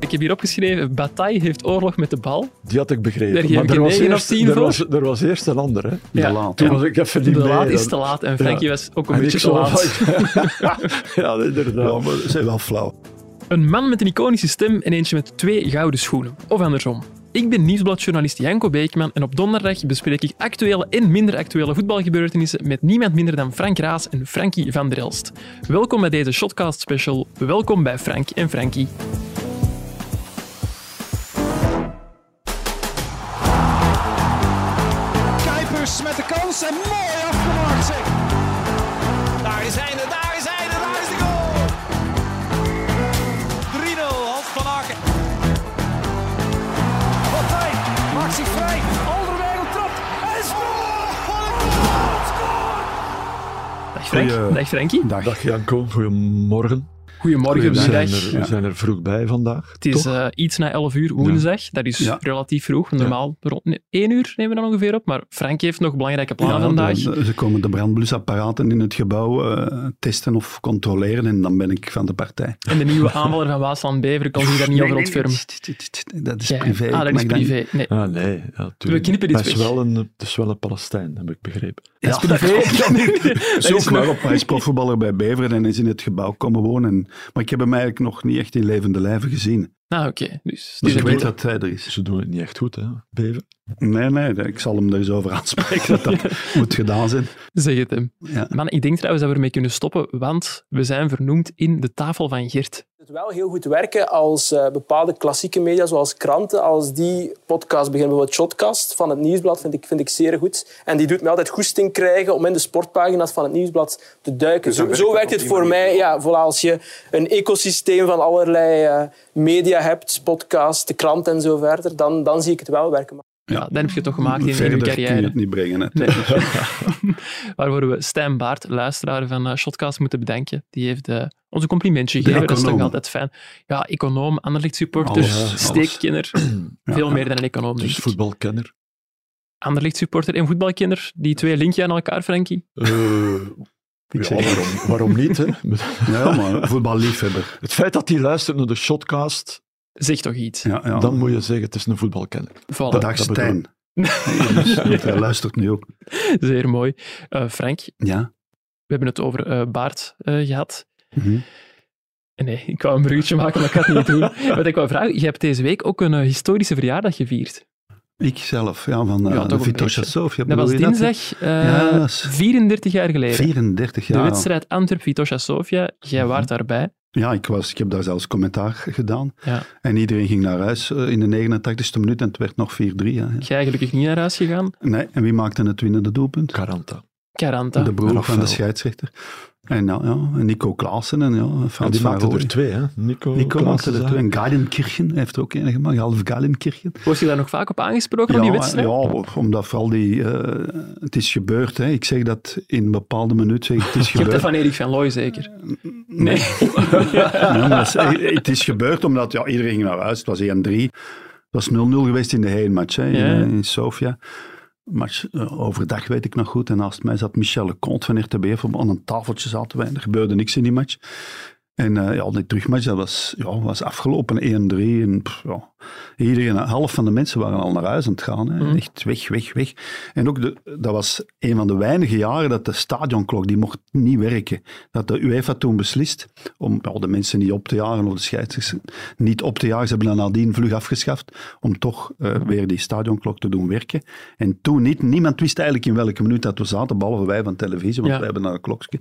ik heb hier opgeschreven, Bataille heeft oorlog met de bal. Die had ik Daar begrepen. geef ik er een was, negen of eerst, tien er, voor. was, er was eerst een ander. Hè? Ja. Laat. Toen En was ik even niet De mee, laat is dan. te laat en Frankie was ook een En beetje ik te zo laat. van- ja, Ja, inderdaad. maar ze zijn wel flauw. Een man met een iconische stem en eentje met twee gouden schoenen. Of andersom. Ik ben nieuwsbladjournalist Janko Beekman en op donderdag bespreek ik actuele en minder actuele voetbalgebeurtenissen met niemand minder dan Frank Raas en Frankie van der Elst. Welkom bij deze Shotcast special. Welkom bij Frank en Frankie. Kuipers met de kans en mooi afgemaakt zeg. Daar is hij, daar is hij, daar is de goal. 3-0, Hans van Aken. Partij, maakt zich vrij. Alderweireld trapt en scoort! Wat een goal! Scoort! Dag Frank. Goeie- Dag Frankie. Dag. Dag Janko, goedemorgen. Goedemorgen, We zijn, middag. er, we Ja. zijn er vroeg bij vandaag. Het is toch? eh, iets na 11 uur woensdag. Dat is Ja. relatief vroeg. Normaal rond 1 uur nemen we dan ongeveer op. Maar Frank heeft nog belangrijke plannen Ja, vandaag. de- de- ze komen de brandblusapparaten in het gebouw eh, testen of controleren en dan ben ik van de partij. En de nieuwe aanvaller van Waasland Beveren kon zich daar niet Nee, over nee, ontfermen. tst, tst, tst, Dat is Ja. privé. Ah, ik dat is mag privé. Nee. Ah, nee. Ja, We knippen dit het, is weg. wel een, het is wel een Palestijn, heb ik begrepen. Ja, Dat is privé. Zoek maar op. Hij is profvoetballer bij Beveren en is in het gebouw komen wonen. En- Maar ik heb hem eigenlijk nog niet echt in levende lijven gezien. Ah, oké. Dus, Dus dus ik dat weet bedoel- dat hij er is. Ze doen het niet echt goed, hè, Bever. Nee, nee, ik zal hem er eens over aanspreken dat dat moet gedaan zijn. Zeg het hem. Ja. Man, ik denk trouwens dat we ermee kunnen stoppen, want we zijn vernoemd in de tafel van Geert. het wel heel goed werken als eh, bepaalde klassieke media, zoals kranten, als die podcast beginnen, bijvoorbeeld Shotcast van het Nieuwsblad, vind ik, vind ik zeer goed. En die doet me altijd goesting krijgen om in de sportpagina's van het Nieuwsblad te duiken. zo, zo Dus werkt het voor mij. Ja, voilà, als je een ecosysteem van allerlei eh, media hebt, podcast, de krant en zo verder, dan, dan zie ik het wel werken. Ja, dan heb je het toch gemaakt in, in je Verder kun je carrière. het niet brengen. Hè. Waarvoor we Stijn Baart, luisteraar van eh, Shotcast, moeten bedanken. Die heeft eh, ons een complimentje gegeven. Dat is toch econoom. altijd fijn. Ja, econoom, Anderlicht supporter, Alles, alles. steekkenner. Ja, Veel ja. meer dan een econoom. denk Dus ik. voetbalkenner. Anderlicht supporter en voetbalkenner. Die twee linkje aan elkaar, Frankie. Eh, Ik ja, zeg- waarom, waarom niet, hè? Ja, maar voetballiefhebber. Het feit dat hij luistert naar de shotcast, Zeg toch iets. Ja, ja. dan moet je zeggen, het is een voetbalkenner. Voilà. Dag dat Stijn. Dus, want hij luistert nu ook. Zeer mooi. Eh, Frank, Ja. we hebben het over eh, Baart eh, gehad. Eh, Mhm. Nee, ik wou een bruggetje maken, maar ik ga het niet doen. Wat ik wou vragen, je hebt deze week ook een eh, historische verjaardag gevierd. Ik zelf, ja, van eh, Ja, toch een Vito beetje. Chassov. Ja, Dat was bedoel je dinsdag, eh, Ja, dat is- 34 jaar geleden. 34 De jaar. al. wedstrijd Antwerp-Vitosha Sofia, jij Mhm. waart daarbij. Ja, ik, was, ik heb daar zelfs commentaar gedaan. Ja. En iedereen ging naar huis eh, in de 89e minuut en het werd nog 4-3. Ja. Jij gelukkig niet naar huis gegaan. Nee, en wie maakte het winnende doelpunt? Caranta. Caranta. De broer van de Rafael. scheidsrechter. En, nou, ja, en Nico Klaassen en ja, Ja, Frans die van maakte Rooij. er twee, hè? Nico, Nico maakte er Klaassen. twee. En Galenkirchen heeft er ook een gemaakt. Half Galenkirchen. Word je daar nog vaak op aangesproken, op die wedstrijd? ja, omdat vooral die... eh, het is gebeurd, hè. Ik zeg dat in een bepaalde minuut. Zeg, ik, het is Je hebt gebeurd. dat van Erik van Looy zeker. Nee. Nee, maar dat is- eh, het is gebeurd omdat ja, iedereen ging naar huis. Het was 1-3. Het was 0-0 geweest in de heenmatch hè, in, Ja. eh, in Sofia. Match, eh, overdag weet ik nog goed. En naast mij zat Michel Leconte van RTBF. Op- Aan een tafeltje zaten wij en er gebeurde niks in die match. En eh, ja, die terugmatch dat was, ja, was afgelopen 1-3. En, pff, ja, iedereen, de helft van de mensen waren al naar huis aan het gaan. Hè. Mm. Echt weg, weg, weg. En ook, de, dat was een van de weinige jaren dat de stadionklok, die mocht niet werken. Dat de UEFA toen beslist om ja, de mensen niet op te jagen, of de scheidsrechters niet op te jagen. Ze hebben dat nadien vlug afgeschaft om toch eh, weer die stadionklok te doen werken. En toen niet, niemand wist eigenlijk in welke minuut dat we zaten, behalve wij van televisie, want Ja. wij hebben naar een klokje.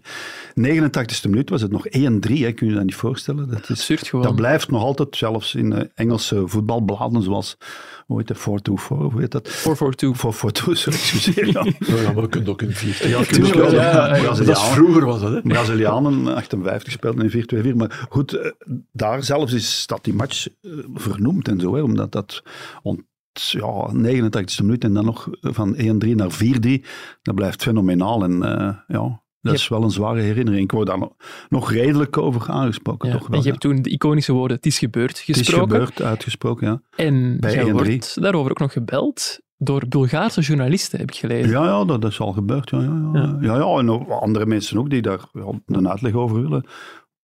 89e minuut was het nog 1-3, hè, kun je dat niet voorstellen? Dat is, Absurd gewoon. dat blijft nog altijd, zelfs in eh, Engelse voetbalbladen zoals, hoe heet dat, 424, hoe heet dat? 4-4-2. 442, sorry, excuseer. Ja. Ja, ja, maar we kunnen het ook in vier. Ja, tuurlijk wel, ja, ja, ja. Dat is Brazilianen, vroeger was dat, hè? Brazilianen, 58 speelden in 4-2-4. Maar goed, eh, daar zelfs is dat die match eh, vernoemd en zo, hè, omdat dat... ont- ja, 89e minuut en dan nog eh, van 1-3 naar 4-3. Dat blijft fenomenaal. En eh, ja, dat is wel een zware herinnering. Ik word daar nog, nog redelijk over aangesproken, Ja. toch wel. En je ja. hebt toen de iconische woorden het is gebeurd Het is gesproken. gebeurd, uitgesproken, ja. En Bij jij 1-3. wordt daarover ook nog gebeld door Bulgaarse journalisten, heb ik gelezen. Ja, ja dat, dat is al gebeurd. Ja, ja, ja. Ja. Ja. Ja, en ook andere mensen ook die daar ja, een uitleg over willen.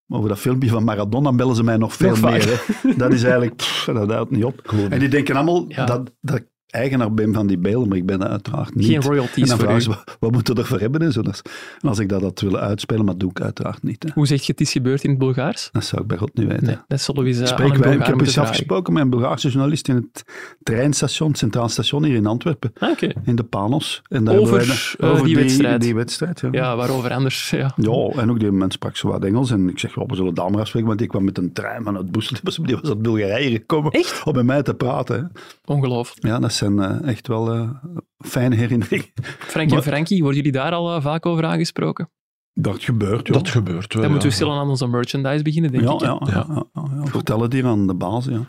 Maar voor dat filmpje van Maradona bellen ze mij nog veel Nog vaak. meer. Hè. Dat is eigenlijk, pff, dat houdt niet op. En die denken allemaal Ja. dat, dat ik eigenaar ben van die beelden, maar ik ben dat uiteraard niet. Geen royalties En dan voor vragen u. ze, wat, wat moeten we ervoor hebben? En, zo. Dat is- en als ik dat had willen uitspelen, maar dat doe ik uiteraard niet. Hè. Hoe zeg je het is gebeurd in het Bulgaars? Dat zou ik bij God niet weten. Nee, dat zullen we eens eh, aan Spreken een wij, ik Bulgaar heb moeten eens vragen. afgesproken met een Bulgaarse journalist in het treinstation, het Centraal Station hier in Antwerpen, Ah, Oké. in de Panos. En daar Over, hebben wij- eh, die wedstrijd. Die wedstrijd, ja. Ja, waarover anders? Ja. Ja, en ook die mens sprak zo wat Engels. En ik zeg, ja, we zullen daar maar afspreken, want die kwam met een trein van het Boesel. Die was uit Bulgarije gekomen Echt? om met mij te praten. Ongelooflijk. hè. Ja, dat zijn eh, echt wel eh, fijne herinneringen. Frank en Maar- Frankie, worden jullie daar al eh, vaak over aangesproken? Dat gebeurt, Dat gebeurt Dan wel. ja. moeten we stil aan onze merchandise beginnen, denk ja, ik. hè. ja, ja, ja, ja. Vertel het hier aan de baas, ja.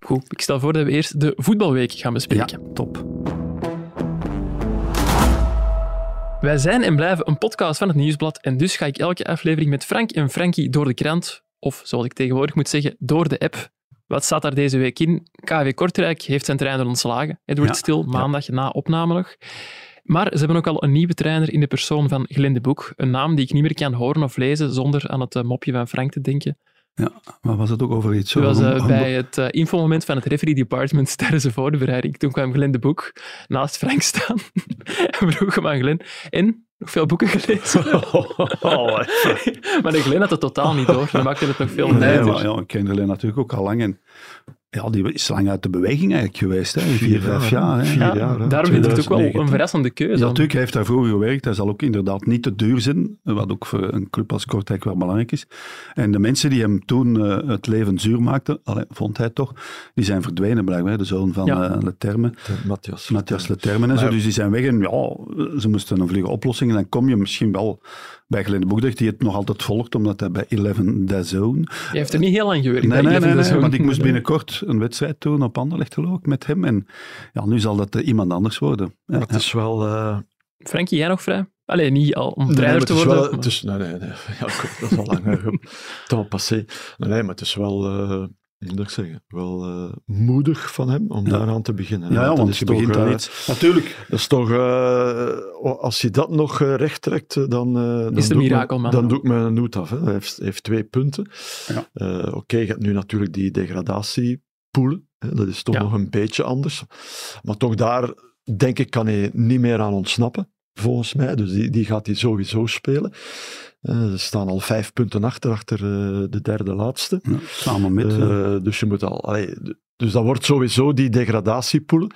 Goed, ik stel voor dat we eerst de voetbalweek gaan Ja, bespreken. top. Wij zijn en blijven een podcast van het Nieuwsblad en dus ga ik elke aflevering met Frank en Frankie door de krant, of zoals ik tegenwoordig moet zeggen, door de app. Wat staat daar deze week in? KW Kortrijk heeft zijn trainer ontslagen. Het wordt Ja, stil, maandag na opname nog. Maar ze hebben ook al een nieuwe trainer in de persoon van Glenn de Boek. Een naam die ik niet meer kan horen of lezen zonder aan het eh, mopje van Frank te denken. Maar was het ook over iets? Toen over was een- eh, een- bij het eh, infomoment van het referee department tijdens de voorbereiding. Toen kwam Glenn de Boek naast Frank staan en vroeg hem aan Glenn. En? Nog veel boeken gelezen? Oh, maar de Glenn had het totaal niet door. Dan maakte het nog veel Nee, meer. maar, ja, ik ken Glenn natuurlijk ook al lang. En, ja, die is lang uit de beweging eigenlijk geweest. Hè. Vier, vijf jaar. hè. Ja, jaar, hè. daarom vind ik het ook wel een 2019. verrassende keuze. Ja, natuurlijk, hij heeft daarvoor gewerkt. Hij zal ook inderdaad niet te duur zijn, wat ook voor een club als Kortrijk wel belangrijk is. En de mensen die hem toen eh, het leven zuur maakten, allee, vond hij toch, die zijn verdwenen blijkbaar. hè. De zoon van Ja. eh Leterme, Matthias. Matthias Leterme en zo. Maar- Dus die zijn weg en ja, ze moesten een vlugge oplossing. En dan kom je misschien wel bij Glenn de Boekdijk, die het nog altijd volgt, omdat hij bij 11 The Zone Je dus heeft er niet heel lang gewerkt. Nee, hè. nee, Ik nee, vind dat nee, zo- want ik moest binnenkort een wedstrijd doen op Anderlecht geloof ik, met hem. En ja, nu zal dat eh, iemand anders worden. Ja, Maar het is wel... eh, Frankie, jij nog vrij? Allee, niet al om Nee, trainer maar te het is worden. Wel, het is, nee, nee, nee. Ja, goed, dat is al lang. hè. Het al passé. Nee, maar het is wel, eh, hoe moet ik zeggen, wel eh, moedig van hem om daaraan te beginnen. ja, ja, dat want is je toch, begint eh, aan iets. Natuurlijk. Dat is toch, eh, als je dat nog eh, recht trekt, eh, dan, eh, dan, een doe ik mirakel, man. me, dan doe ik me een hoed af. Hè. Hij heeft, heeft twee punten. Ja. Eh, Oké, je hebt nu natuurlijk die degradatiepoelen. Hè. Dat is toch Ja. nog een beetje anders. Maar toch daar, denk ik, kan hij niet meer aan ontsnappen. Volgens mij. Dus die, die gaat hij sowieso spelen. Eh ze staan al vijf punten achter, achter eh, de derde laatste. Ja, samen met. ja. Eh, dus je moet al. allee, d- dus dat wordt sowieso die degradatiepoelen.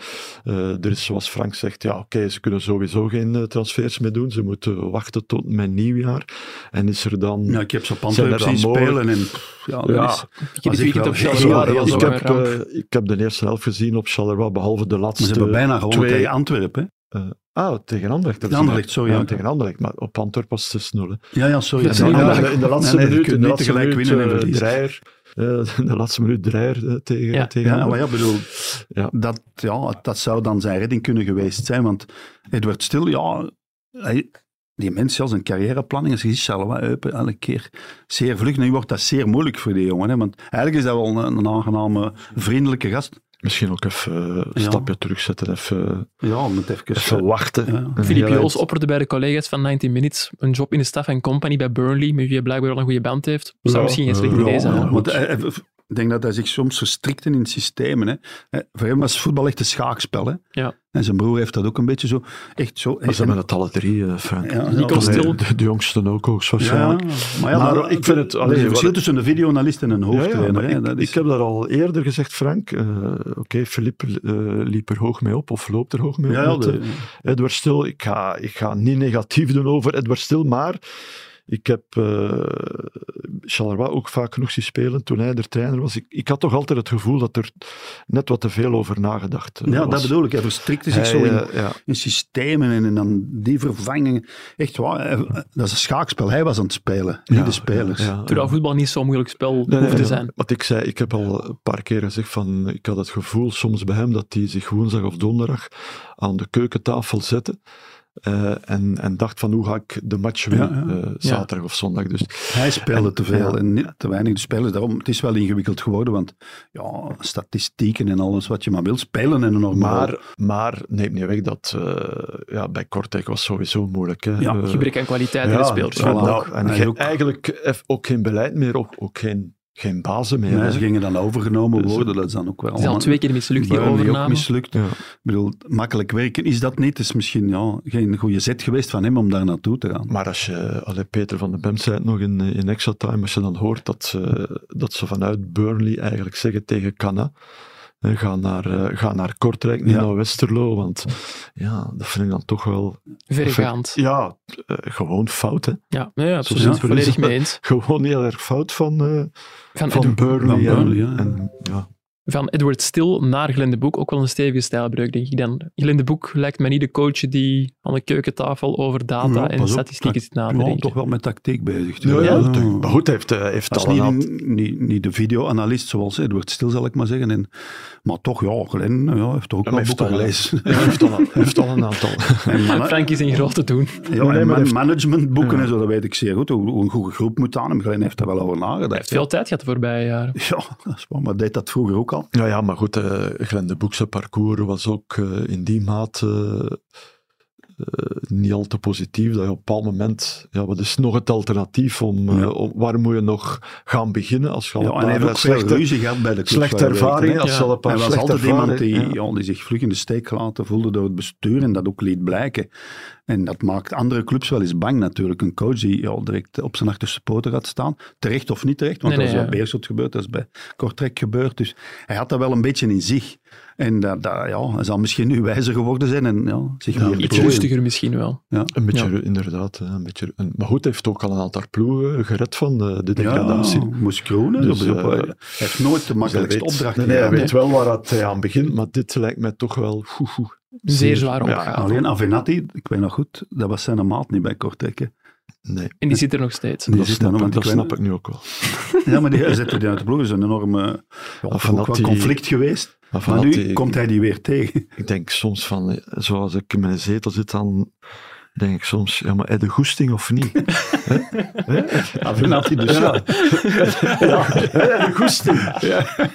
Eh er is, zoals Frank zegt, ja, oké, ze kunnen sowieso geen eh, transfers meer doen. Ze moeten wachten tot mijn nieuwjaar. En is er dan. Ja, ik heb ze op Zijn er Antwerpen zien dan spelen. En, pff, ja, dat Ja, is, Ik was heb dit ik weekend wel op heel Ik- Charleroi, raar, dat was ik, ook ook heb, een ramp. eh, ik heb de eerste helft gezien op Charleroi, behalve de ze laatste. hebben bijna gewonnen twee- tegen Antwerpen. hè. Ah, tegen Anderlecht. hebben ze Anderlecht, gedaan. sorry, Ja, ja. tegen Anderlecht. Maar op Antwerpen was het 6-0. hè. Ja, ja, sorry. Dat is Ja, niet Ja, Anderlecht. in de- in de laatste Nee, nee, je minuut, kunt in de niet laatste tegelijk minuut, winnen en eh, verliezen. Dreyer, eh, in de laatste minuut Dreyer eh, tegen, Ja. tegen Ja, Anderlecht. maar ja, bedoel, Ja. Dat, ja, dat zou dan zijn redding kunnen geweest zijn. Want Edward Stil, ja, hij- die mens, ja, zijn carrièreplanning is gezien, Charleroi, Eupen, elke keer zeer vlug. Nu wordt dat zeer moeilijk voor die jongen. Hè, want eigenlijk is dat wel een, een aangename, vriendelijke gast. Misschien ook even eh, een Ja. stapje terugzetten, even, Ja, moet even... even wachten. ja. Een Filip hele Joos eind. opperde bij de collega's van 19 Minutes een job in de staf en company bij Burnley, met wie hij blijkbaar wel een goede band heeft. Zou Ja. misschien geen slecht eh, Ja, idee zijn. ja. hè. Want hij- hij- ik denk dat hij zich soms verstrikte in systemen. Hè. Hij- Voor hem was voetbal echt een schaakspel. Hè. Ja. En zijn broer heeft dat ook een beetje zo. Echt zo Maar ze hebben het alle drie, eh, Frank. Ja, Nico ja, Allee, Stil. De, de jongsten ook, Ja, hoogstwaarschijnlijk. maar ja, Maar dat- ik vind het- Er allee, is een wat- verschil tussen een videoanalist en een Ja, ja, hoofdtrainer. maar hè. ik, dat is, ik heb dat al eerder gezegd, Frank. Eh, Oké, Philippe eh, liep er hoog mee op, of loopt er hoog mee ja, ja, op. met, de- eh, Edward Stil, ik ga, ik ga niet negatief doen over Edward Stil, maar ik heb eh Charleroi ook vaak genoeg zien spelen toen hij er trainer was. Ik, ik had toch altijd het gevoel dat er net wat te veel over nagedacht eh, ja, was. dat bedoel ik. Hij verstrikte zich Hij, zo in, eh, ja. in systemen en, en dan die vervangingen. Echt waar, eh, dat is een schaakspel. Hij was aan het spelen, niet Ja, de spelers. ja, ja. Terwijl voetbal niet zo'n moeilijk spel Nee, hoeft nee, te ja. zijn. Wat ik zei, ik heb al een paar keer gezegd van, ik had het gevoel soms bij hem dat hij zich woensdag of donderdag aan de keukentafel zette. eh, en, en dacht van hoe ga ik de match winnen Ja, eh, zaterdag of zondag. Dus Hij speelde te veel ja. en niet te weinig. De spelers, daarom, het is wel ingewikkeld geworden, want ja, statistieken en alles wat je maar wil, spelen en een normale. Maar, maar neemt niet weg dat eh, ja, bij Kortrijk was sowieso moeilijk. Hè. Ja, Eh, Gebrek aan kwaliteit in ja, de spelers. en Voilà. nou, en Hij ge- ook. eigenlijk eff- ook geen beleid meer, ook, ook geen, geen bazen meer. Nee, hè. ze gingen dan overgenomen Dus, worden, dat is dan ook wel Het is al twee keer de mislukt, die Burnley ook overname. mislukt. Ja. Ik bedoel, makkelijk werken is dat niet. Het is misschien ja, geen goede zet geweest van hem om daar naartoe te gaan. Maar als je, allee, Peter van den Bem zei het nog in, eh, in extra time, als je dan hoort dat ze, dat ze vanuit Burnley eigenlijk zeggen tegen Canna, eh, ga naar, eh, ga naar Kortrijk, niet Ja. naar Westerlo, want ja, dat vind ik dan toch wel... Vergaand. Ja, eh, gewoon fout, hè. Ja, ja, absoluut. Ja. Volledig mee eens. Gewoon heel erg fout van, eh, Van, van Ed- Burnley. Van en- Burnley, ja. en, ja. van Edward Stil naar Glenn de Boek. Ook wel een stevige stijlbreuk, denk ik dan. Glenn de Boek lijkt mij niet de coach die aan de keukentafel over data Ja, en pas op, statistieken zit na te Ja, denken. toch wel met tactiek bezig. Ja, ja. natuurlijk. Maar goed, hij heeft, eh, heeft Dat is al een niet, aantal- een- niet, niet de videoanalist zoals Edward Stil, zal ik maar zeggen. En, maar toch, ja, Glenn ja, heeft er ook Ja, wel maar boeken heeft al- gelezen. hij heeft al een- hij heeft al een aantal. En mana- Frank is in grote doen. ja, maar en man- heeft- managementboeken Ja. en zo, dat weet ik zeer goed. Hoe, hoe een goede groep moet aan hem. Glenn heeft er wel over nagedacht. Hij heeft veel tijd gehad de voorbije jaren. Ja, dat is waar, maar deed dat vroeger ook al. Ja, ja, maar goed, eh Glenn de Boekse parcours was ook eh, in die mate eh, niet al te positief. Dat je op een bepaald moment, ja, wat is nog het alternatief om, eh, Ja. om- waar moet je nog gaan beginnen als je al Ja, een en hij heeft paar ook veel slechte, ruzie gehad bij de club. slechte waar hij werkte, ervaringen, hè. als je al een paar Hij was slechte altijd iemand die, ervaringen- ja. die zich vlug in de steek gelaten voelde door het bestuur en dat ook liet blijken. En dat maakt andere clubs wel eens bang natuurlijk. Een coach die al direct op zijn achterste poten gaat staan, terecht of niet terecht, want Nee, dat nee, is bij ja. Beerschot gebeurd, dat is bij Kortrijk gebeurd. Dus hij had dat wel een beetje in zich. En dat, dat, ja, hij zal misschien nu wijzer geworden zijn en ja, zich meer Iets plooien. rustiger misschien wel. Een beetje, Ja. ru- inderdaad. hè, Een beetje, ru- en- maar goed, hij heeft ook al een aantal ploegen gered van de, de Ja, degradatie. moest kroenen. Dus, op- op- eh, hij heeft nooit de Dus hij makkelijkste weet- opdracht nee, nee, hij gehad. weet wel waar het eh, aan begint, maar dit lijkt mij toch wel... foe, foe, Zeer zware Ja, opgave. Alleen Ah, Avenatti, ik weet nog goed, dat was zijn maat niet bij Kortrijk. hè. Nee, En die zit er nog steeds. Die dat, zit daar snap, nog, ik, want dat ik weet- snap ik nu ook wel. Ja, maar die zette die uit de ploeg. Dat is een enorme ja, ook wel Avenatti- conflict geweest. Maar Maar vanaf nu die- komt hij die weer tegen. Ik denk soms van, eh, zoals ik in mijn zetel zit, dan denk ik soms, ja, maar heb je de goesting of niet? Avenatti dus. Ja. de goesting.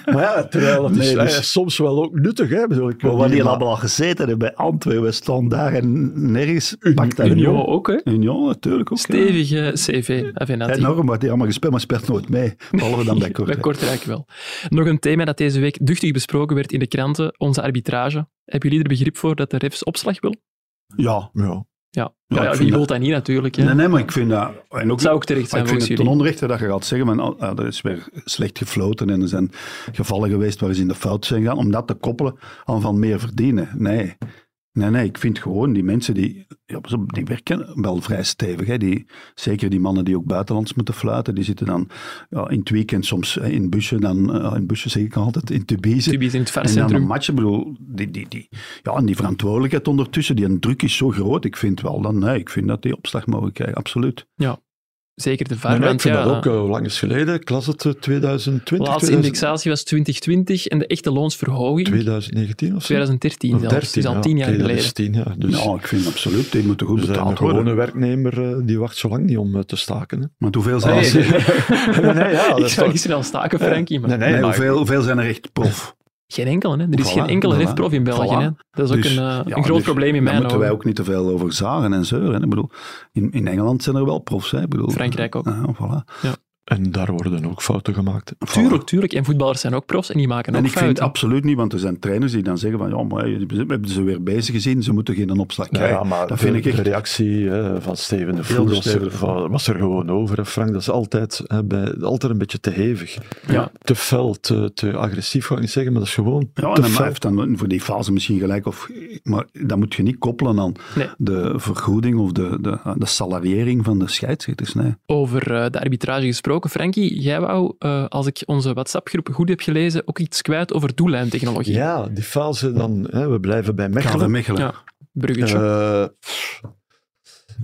Maar ja, terwijl dat Nee, is dus- eh, soms wel ook nuttig, hè? Bedoel, ik Maar wil wat niet- die maar- allemaal gezeten hebben bij Antwerpen, stond daar en nergens. Pakt hij Union Union. ook, hè? Union, natuurlijk ook. ja. Stevige Ah, CV, Avenatti. Enorm wat hij allemaal gespeeld, maar speelt nooit mee. Behalve nou, dan bij Bij Kortrijk. Kortrijk wel. Nog een thema dat deze week duchtig besproken werd in de kranten, onze arbitrage. Hebben jullie er begrip voor dat de refs opslag wil? Ja. Ja. Ja, Ja, ja, ik ja, vind wie dat- wil dat niet natuurlijk. Hè? Nee, nee, maar ik vind dat... En ook, Het zou ook terecht Maar zijn ik vind volgens het ten jullie. onrechte dat je gaat zeggen, van, ah, ah, er is weer slecht gefloten en er zijn gevallen geweest waar ze in de fout zijn gegaan, om dat te koppelen aan van meer verdienen. Nee. Nee, nee, ik vind gewoon die mensen die, ja, pas op, die werken wel vrij stevig. Hè. Die, zeker die mannen die ook buitenlands moeten fluiten, die zitten dan ja, in het weekend soms hè, in bussen, dan, eh, in bussen zeg ik altijd, in Tubize. Tubi is in het En dan varcentrum. een match, ik bedoel, die, die, die, ja, en die verantwoordelijkheid ondertussen, die een druk is zo groot, ik vind wel, dan, nee, ik vind dat die opslag mogen krijgen, absoluut. Zeker de Nee, VAR, nee, ik want vind ja, dat ook eh, hoe lang is geleden. Ik las het eh, 2020, de laatste 2000 indexatie was 2020 en de echte loonsverhoging 2019 of zo? 2013 Of zelfs. dus al tien ja. jaar Oké, dat geleden. is tien jaar. Dus Nou, ik vind het absoluut. Die moeten goed dus een betaald gewone worden. werknemer eh, die wacht zo lang niet om eh, te staken. Hè. Want hoeveel zijn, Nee, er, nee, nee, nee, ja, dat ik is zou toch- niet snel staken, Frankie. Maar Nee, nee, nee, maar- hoeveel, hoeveel zijn er echt prof? Geen enkele, hè. Er is Voilà, geen enkele voilà. refprof in België. Voilà. Hè. Dat is ook Dus, een, eh, ja, een groot dus probleem in Daar mijn moeten wij ogen. ook niet te veel over zagen en zeuren. Ik bedoel, in, in Engeland zijn er wel profs. Hè? Ik bedoel, Frankrijk ook. Ja, voilà. En daar worden ook fouten gemaakt. Voilà. Tuurlijk, tuurlijk. En voetballers zijn ook profs en die maken En ook ik vind fouten. absoluut niet, want er zijn trainers die dan zeggen van ja, maar hey, we hebben ze weer bezig gezien, ze moeten geen opslag Nou Ja, krijgen. maar dat de, vind ik de echt... reactie hè, van Steven de Heel Voer de was, Steven er- de Voer. van- was er gewoon over. hè, Frank, dat is altijd, hè, bij, altijd een beetje te hevig. Ja. Te fel, te, te agressief, ga ik niet zeggen, maar dat is gewoon Ja, te en hij fel. heeft dan voor die fase misschien gelijk. Of, maar dat moet je niet koppelen aan Nee. de vergoeding of de, de, de salariering van de scheidsrechters. Nee. Over eh, de arbitrage gesproken. Frankie, jij wou, eh, als ik onze WhatsApp-groep goed heb gelezen, ook iets kwijt over doellijntechnologie. Ja, die fase dan, hè, we blijven bij KV Mechelen. Mechelen. Ja. Bruggetje. Eh,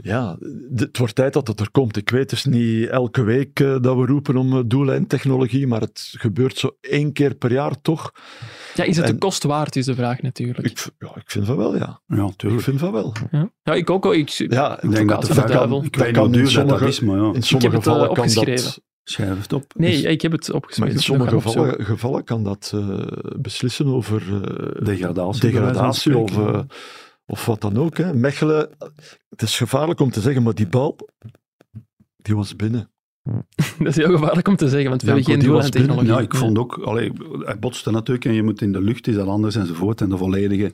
Ja, d- het wordt tijd dat het er komt. Ik weet dus niet elke week eh, dat we roepen om eh, doellijntechnologie, maar het gebeurt zo één keer per jaar toch. Ja, is het de En- kost waard, is de vraag natuurlijk. Ik, v- ja, ik vind van wel, ja. Ja, Ik tuurlijk. vind van wel. Ja, ja ik ook. hoor. Ik, Ja, Ik denk dat de Advocaat van de vraag duivel. Ik Dat weet niet kan hoe duur in dat, dat sommige- is, maar ja, in eh, sommige heb het, eh, gevallen kan dat... opgeschreven. schrijf het op. nee, ik heb het opgeschreven. Maar in dus we gaan sommige opzoeken. gevallen, gevallen kan dat eh, beslissen over eh, Degradatie. degradatie bij of, wijze van eh, of wat dan ook. Hè. Mechelen, het is gevaarlijk om te zeggen, maar die bal, die was binnen. Dat is heel gevaarlijk om te zeggen, want we Ja, hebben geen die doel was aan technologie. Ja, ik vond ook, allee, hij botste natuurlijk en je moet in de lucht, is dat anders enzovoort. En de volledige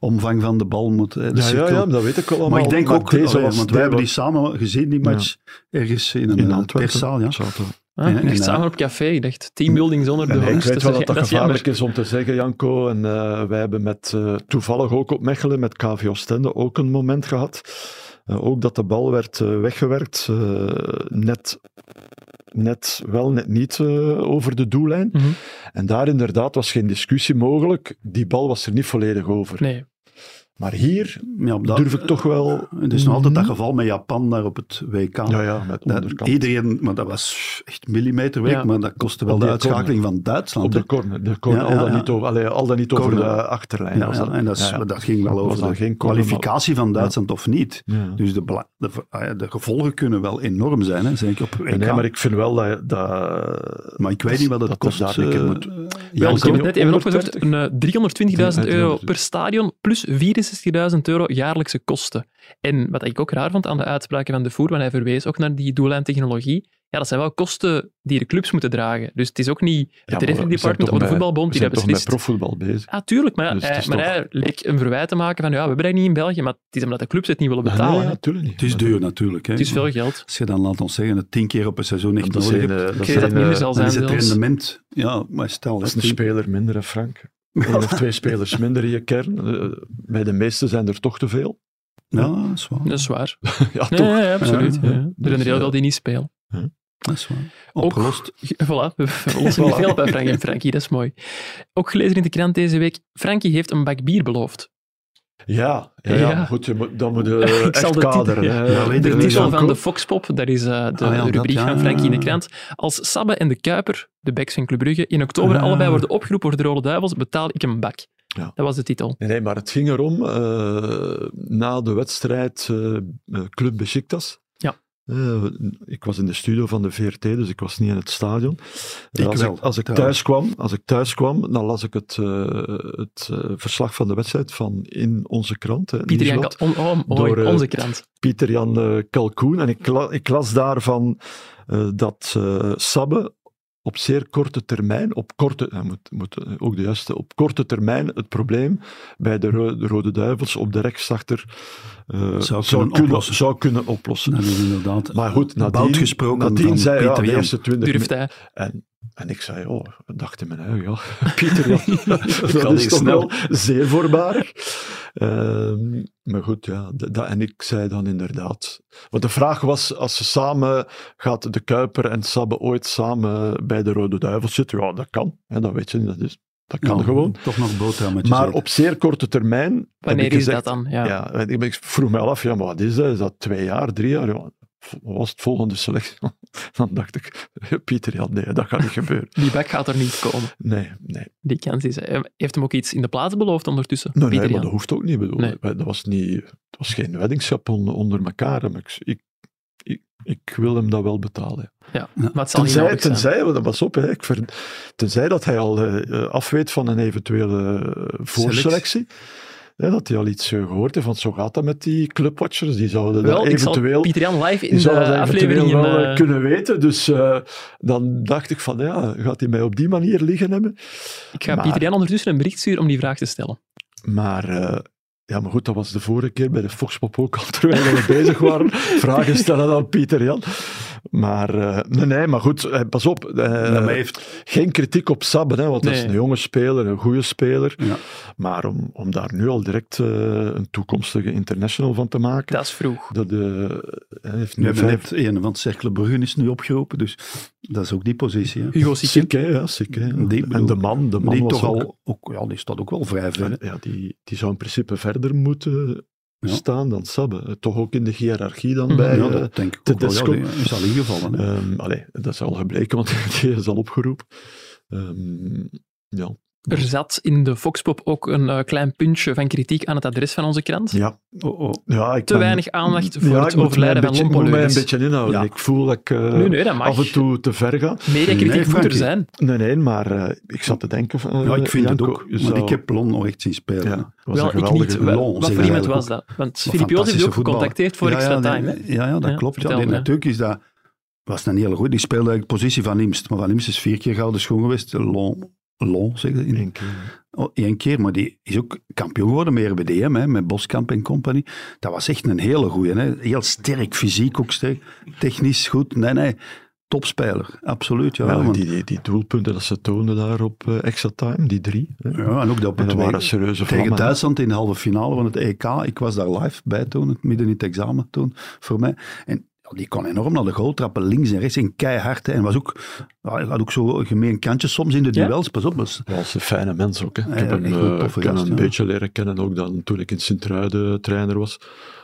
omvang van de bal moet. hè, de Ja, ja, cirkel. ja, dat weet ik wel allemaal. Dus maar ik denk ook, deze allee, was, want wij hebben die samen gezien, die match, ergens in een In eh, Antwerpen. perszaal. Ja. Zaten. Ah, je en- ligt en- samen op café, ik dacht teambuilding zonder de Nee, ik host. weet is- wel dat dat is gevaarlijk jammer. is om te zeggen, Janko. En eh, wij hebben met, eh, toevallig ook op Mechelen met KV Oostende ook een moment gehad. Eh, ook dat de bal werd eh, weggewerkt. eh, net, net wel, net niet eh, over de doellijn. Mhm. En daar inderdaad was geen discussie mogelijk. Die bal was er niet volledig over. Nee, Maar hier Ja, op dat- durf ik toch wel... Het is nog altijd dat geval met Japan daar op het WK. Ja, ja, met Dat onderkant. iedereen, maar dat was echt millimeterwerk, Ja. maar dat kostte wel Op de die uitschakeling van Duitsland. Op de hè. corner. De corner Ja, al, ja, dan ja. Niet over, allee, al dan niet over Corner. de achterlijn. ja, was ja, en dat, is- Ja, ja. dat ging wel Was over dan de geen corner, maar- kwalificatie van Duitsland of niet. Ja. Dus de, bela- de, ver- ah ja, de gevolgen kunnen wel enorm zijn, hè, zeker op WK. Nee, maar, maar ik, ik vind wel dat... dat weet niet wat het dat kost. er daar een eh, keer moet- ja, Jan, ik heb het net even 130. opgezocht. Een, eh, 320.000 euro per stadion plus 64.000 euro jaarlijkse kosten. En wat ik ook raar vond aan de uitspraken van de voer, want hij verwees ook naar die doel aan technologie. Ja, dat zijn wel kosten die de clubs moeten dragen. Dus het is ook niet Ja, het maar we referee zijn department toch of de bij- voetbalbond We die zijn dat toch met beslist. profvoetbal bezig. Ah, tuurlijk, maar, ja, Dus het hij, is maar toch- hij leek een verwijt te maken van ja, we brengen niet in België, maar het is omdat de clubs het niet willen Ah, Nee, betalen. nee, hè. natuurlijk niet. het is duur natuurlijk. Hè. Het is veel geld. Als je dan, laat ons zeggen, het tien keer op een seizoen echt Dat nodig zijn, hebt, eh, dat Ik weet dat zijn, het minder eh, zal dan zijn is het zelfs. rendement. Ja, maar stel, dat hè, is een tien- speler minder, hè, Frank. Eén of twee spelers minder in je kern. Eh, bij de meesten zijn er toch te veel. ja, dat is waar. Dat is waar. ja, Nee, toch. ja, ja, absoluut. Ja, Ja, ja. Er zijn er Dus, heel eh, veel die niet spelen. Dat is waar. Ook- Opgelost. Voilà, we lossen niet Voilà. veel bij Frank en Frankie, dat is mooi. Ook gelezen in de krant deze week, Frankie heeft een bak bier beloofd. Ja, ja, ja, Ja. maar goed, je moet, dan moet je Ik zal echt de titel- kaderen. ja. hè. Ja, weet De ik niet, titel Janko. van de Foxpop, dat is eh, de Ah ja, dat, rubriek ja, van Frankie in de ja. krant. Als Sabbe en de Kuiper, de backs van Club Brugge, in oktober Ah. allebei worden opgeroepen voor de Rode Duivels, betaal ik een bak. Ja. Dat was de titel. Nee, nee, maar het ging erom, eh, na de wedstrijd eh, eh, Club Besiktas. Ja. Eh, ik was in de studio van de VRT, dus ik was niet in het stadion. Eh, Ik als wel, ik, als ik trouwens. thuis kwam, als ik thuis kwam, dan las ik het, eh, het eh, verslag van de wedstrijd van in onze krant. hè, Pieter Jan Nieuwsblad, Kat- on- oh, mooi, Door, eh, onze krant. Pieter Jan eh, Kalkoen. En ik, la- ik las daarvan eh, dat eh, Sabbe op zeer korte termijn, op korte, hij moet, moet eh, ook de juiste, op korte termijn het probleem bij de, Ro- de Rode Duivels op de rechtsachter eh, kunnen oplossen. kunnen, zou kunnen oplossen. Nou, Dat is inderdaad Maar goed, nadien, bout gesproken nadien van zei ja, Pieter de Jan. eerste 20 Durft hij. en, en ik zei, oh, ik dacht in mijn eigen, ja, Pieter, ja, dat kan is niet toch snel. wel zeer voorbarig. Ehm, maar goed, ja, d- dat- en ik zei dan inderdaad. Want de vraag was, als ze samen, gaat de Kuiper en Sabbe ooit samen bij de Rode Duivels zitten? Ja, dat kan, hè, dat weet je, niet, dat, is, dat kan Ja, gewoon. Toch nog boterhammetjes. Maar eten. op zeer korte termijn... heb Wanneer ik is gezegd- dat dan? Ja. Ja, en ik, ik vroeg mij al af, ja, maar wat is dat? Is dat twee jaar, drie jaar? Ja, wat was het volgende selectie? Dan dacht ik, Pieter, ja, nee, dat gaat niet gebeuren. Die bak gaat er niet komen. Nee, nee. Die kans is... Hij heeft hem ook iets in de plaats beloofd ondertussen, Nee, Nou, nee, Pieter maar Jan. dat hoeft ook niet. Bedoel. Nee. wij- Dat was niet, het was geen weddingsjapon onder elkaar. hè, maar Ik, ik, ik, ik wil hem dat wel betalen. Ja, maar het zal niet Tenzij, nodig zijn. tenzij, want dat was op, hè, ik ver, tenzij dat hij al eh, eh, afweet van een eventuele eh, voorselectie. Hè, dat hij al iets eh, gehoord heeft, want zo gaat dat met die clubwatchers. Die zouden Wel, dat ik zal eventueel... Pieter Jan live in Die zou de dat eventueel aflevering... wel in, eh, eh, kunnen weten. Dus eh, dan dacht ik van, ja, gaat hij mij op die manier liggen hebben? Ik ga Maar- Pieter Jan ondertussen een bericht sturen om die vraag te stellen. Maar, eh, ja, maar goed, dat was de vorige keer bij de Foxpop ook al, terwijl we bezig waren. Vragen stellen aan Pieter Jan. Maar, eh, nee, nee, maar goed, eh, pas op. eh, Ja, maar hij heeft, Geen kritiek op Sabben, hè, want dat Nee. is een jonge speler, een goede speler. Ja. Maar om, om daar nu al direct eh, een toekomstige international van te maken, Dat is vroeg. dat, eh, hij heeft nu nu hebben vijf... net een van Cercle Brugge is nu opgeroepen, dus dat is ook die positie. Hè. Hugo Sikke. Sick, hè, ja, sick, hè. Die En bedoel- de man, de man Die was toch ook- al, ook, ja, die staat ook wel vrij ver. hè. Ja, die, die zou in principe verder moeten Ja. staan dan Sabbe. Eh, Toch ook in de hiërarchie dan Mhm. bij... ja, eh, dat denk ik ook wel. Ja, Tedesco. die is al ingevallen. hè. ehm, allee, dat is al gebleken, want die is al opgeroepen. Ehm, ja. Er zat in de Foxpop ook een eh, klein puntje van kritiek aan het adres van onze krant. Ja, Oh, oh. ja ik Te ben- weinig aandacht voor Ja, het ik moet mij overlijden een van beetje, Ik moet mij een Lompoleuris. beetje inhouden. Ja. Ik voel dat ik eh, Nee, nee, dat mag. af en toe te ver ga. Mediakritiek Nee, moet er Frankie. zijn. Nee, nee, maar eh, ik zat te denken van... eh, Ja, ik vind het Janko, ook. je Want zou- ik heb Lon nog echt zien spelen. Ja, hè. het was Wel, een ik geweldige niet. Wel, lol, lol, Wat zeg voor iemand eigenlijk was dat? Want Filip Joos heeft fantastische ook voetballer. gecontacteerd voor ja, extra ja, time. hè. nee, Ja, ja, dat Ja, klopt. Ja. vertel, Nee, ja. Natuurlijk is dat... Was dat niet heel goed. Die speelde eigenlijk positie van Imst. Maar van Imst is vier keer gouden schoen geweest. Lon, Lon zeg je? in In, één keer. oh, één keer. Maar die is ook kampioen geworden met RBDM. Hè, met Boskamp en compagnie. Dat was echt een hele goeie. Hè. Heel sterk, fysiek ook sterk. Technisch goed. Nee, nee. Topspeler. Absoluut. Ja, Ja, want- die, die, die doelpunten dat ze toonden daar op eh, extra time, die drie. hè. ja, en ook dat op En het dat WK. waren serieuze Tegen vlammen. hè. Duitsland in de halve finale van het EK. Ik was daar live bij toen, het midden in het examen toen, voor mij. En ja, die kon enorm naar de goal trappen, links en rechts, en keihard. Hè. En was ook, ja, hij had ook zo'n gemeen kantje soms in de Ja? duels, pas op. was- Dat was een fijne mens ook. Hè. Ik Ja, heb hem, echt een eh, toffe ik heb gast, hem ja. een beetje leren kennen ook dan, toen ik in Sint-Truiden trainer was.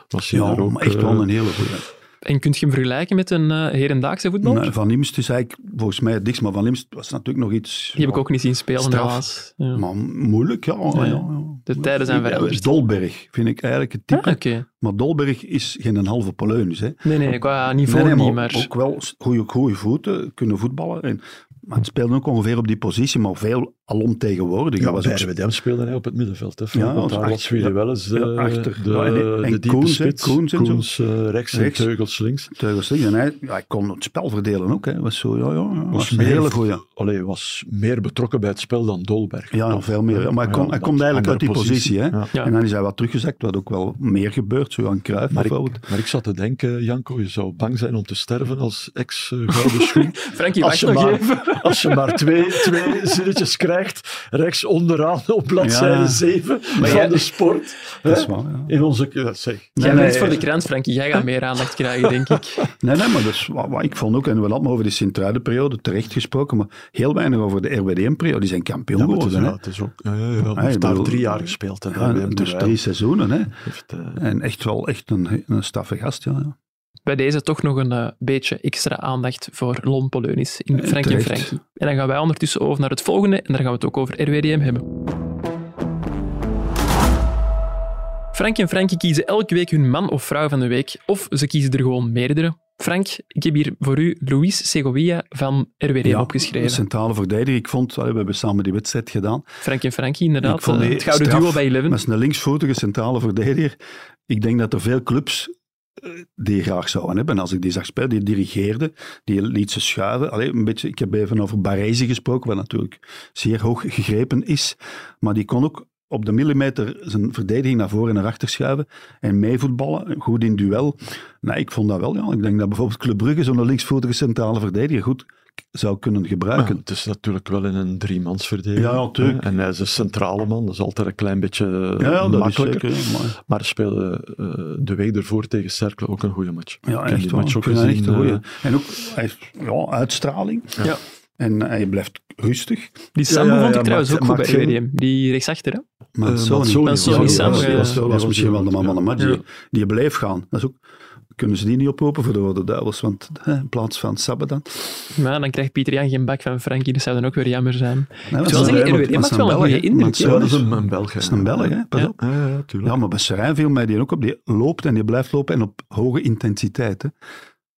was hij Ja, daar ook, maar echt wel eh, een hele goede. En kunt je hem vergelijken met een eh, herendaagse voetbal? Van Imst is eigenlijk volgens mij het dichtst, maar Van Imst was natuurlijk nog iets... Die heb ik ook niet zien spelen, Straf. helaas. Ja. Maar moeilijk, ja. ja, ja. De tijden zijn Ik- veranderd. Dolberg vind ik eigenlijk het Ah, type. Oké. Maar Dolberg is geen halve Polonis, hè. Nee, nee, qua niveau Nee, nee, niet, maar maar... ook wel goede, goede voeten, kunnen voetballen. En, maar het speelde ook ongeveer op die positie, maar veel alomtegenwoordig. Ja, Ja, was was ook bij RWDM speelde hij op het middenveld. Hè, Ja, want als daar achter- was Willy ja, Welles de, ja, achter. de, Ja, en- de en diepe Koens, hè, spits. Koens en zo. eh, rechts en Rechts. Teugels links. teugels liggen. En hij, ja, hij kon het spel verdelen ook. Hè. Was zo, ja, ja, ja, was, Was een meer- hele goede. Allee, was meer betrokken bij het spel dan Dolberg. Ja, Toch? veel meer. Ja, maar hij, kon, Ja, hij dat- komt eigenlijk andere uit die positie. hè. Ja. Ja. En dan is hij wat teruggezakt, wat ook wel meer gebeurt. Zo aan Cruijff Maar bijvoorbeeld. ik, maar ik zat te denken, Janko, je zou bang zijn om te sterven als ex-gouden schoen. Frankie, Als wacht je, nog even. maar, als je maar twee, twee zinnetjes krijgt, rechts onderaan op bladzijde Ja. 7 van jij- de sport. Dat hè, is waar, ja. In onze... Ja, zeg. Jij nee, bent voor de nee. krant, Frankie. Jij gaat meer aandacht krijgen, denk ik. Nee, nee, maar dat is wat, wat ik vond ook. En we hadden maar over de Sint-Truidenperiode terecht gesproken, maar heel weinig over de RWDM-periode. Die zijn kampioen Ja, maar het is, geworden. ja, hè. Ah, het is ook... Ja, ja, ja, hij ik heeft daar bedoel- drie jaar gespeeld. En Ja, daar hem dus terwijl- drie seizoenen. Hè. heeft, eh, En echt wel echt een, een staffe gast, ja. ja. Bij deze toch nog een eh, beetje extra aandacht voor Lon Poleunis in Frankie en Eh, terecht. Frankie. En dan gaan wij ondertussen over naar het volgende en daar gaan we het ook over RWDM hebben. Frankie en Frankie kiezen elke week hun man of vrouw van de week, of ze kiezen er gewoon meerdere. Frank, ik heb hier voor u Luis Segovia van RWDM opgeschreven. Centrale verdediger. Ik vond, allee, we hebben samen die wedstrijd gedaan. Frank en Frankie, inderdaad. Ik vond die eh, het gouden straf. duo bij Eleven. Maar is een linksvoetige centrale verdediger. Ik denk dat er veel clubs eh, die graag zouden hebben. Als ik die zag spelen, die dirigeerde, die liet ze schuiven. Allee, een beetje, ik heb even over Baresi gesproken, wat natuurlijk zeer hoog gegrepen is. Maar die kon ook op de millimeter zijn verdediging naar voren en naar achter schuiven en meevoetballen, goed in duel. Nee, ik vond dat wel. Ja. Ik denk dat bijvoorbeeld Club Brugge zo'n linksvoetige centrale verdediger goed k- zou kunnen Maar gebruiken. het is natuurlijk wel in een driemansverdeling. Ja, ja, tuurlijk. hè. En hij is een centrale man, dat is altijd een klein beetje eh, Ah, Ja, dat is makkelijker. zeker. Maar, Maar hij speelde eh, de week ervoor tegen Cercle ook een goede match. ja, Ik heb echt die wel. match Ik ook vind dat gezien. echt een goeie. eh, En ook, hij heeft ja, uitstraling. Ja. En hij blijft rustig. Die Sambo Ja, ja, vond ik ja, trouwens maakt- ook goed bij maakt geen- RWDM. Die rechtsachter, hè? Maar Eh, zo Mazzoni niet. was Mazzoni, wel- Sambo, was, ja. was, was Ja. misschien wel de man van de match. Ja. Die, die bleef gaan. Dat is ook, kunnen ze die niet oproepen voor de Rode Duivels? Want hè, in plaats van Sabbe dan. Maar dan krijgt Pieter Jan geen bak van Frankie, dat zou dan ook weer jammer zijn. Nee, wel zeggen, want- RWDM want maakt het is wel een goede Belg, hè. indruk, Want hè. Ja, zo dat is is- een, een Belg. dat is een Belg, hè. Pas Ja. op. Ja, ja, tuurlijk. Ja, maar bij Serijn viel mij die ook op. Die loopt en die blijft lopen en op hoge intensiteit. Hè.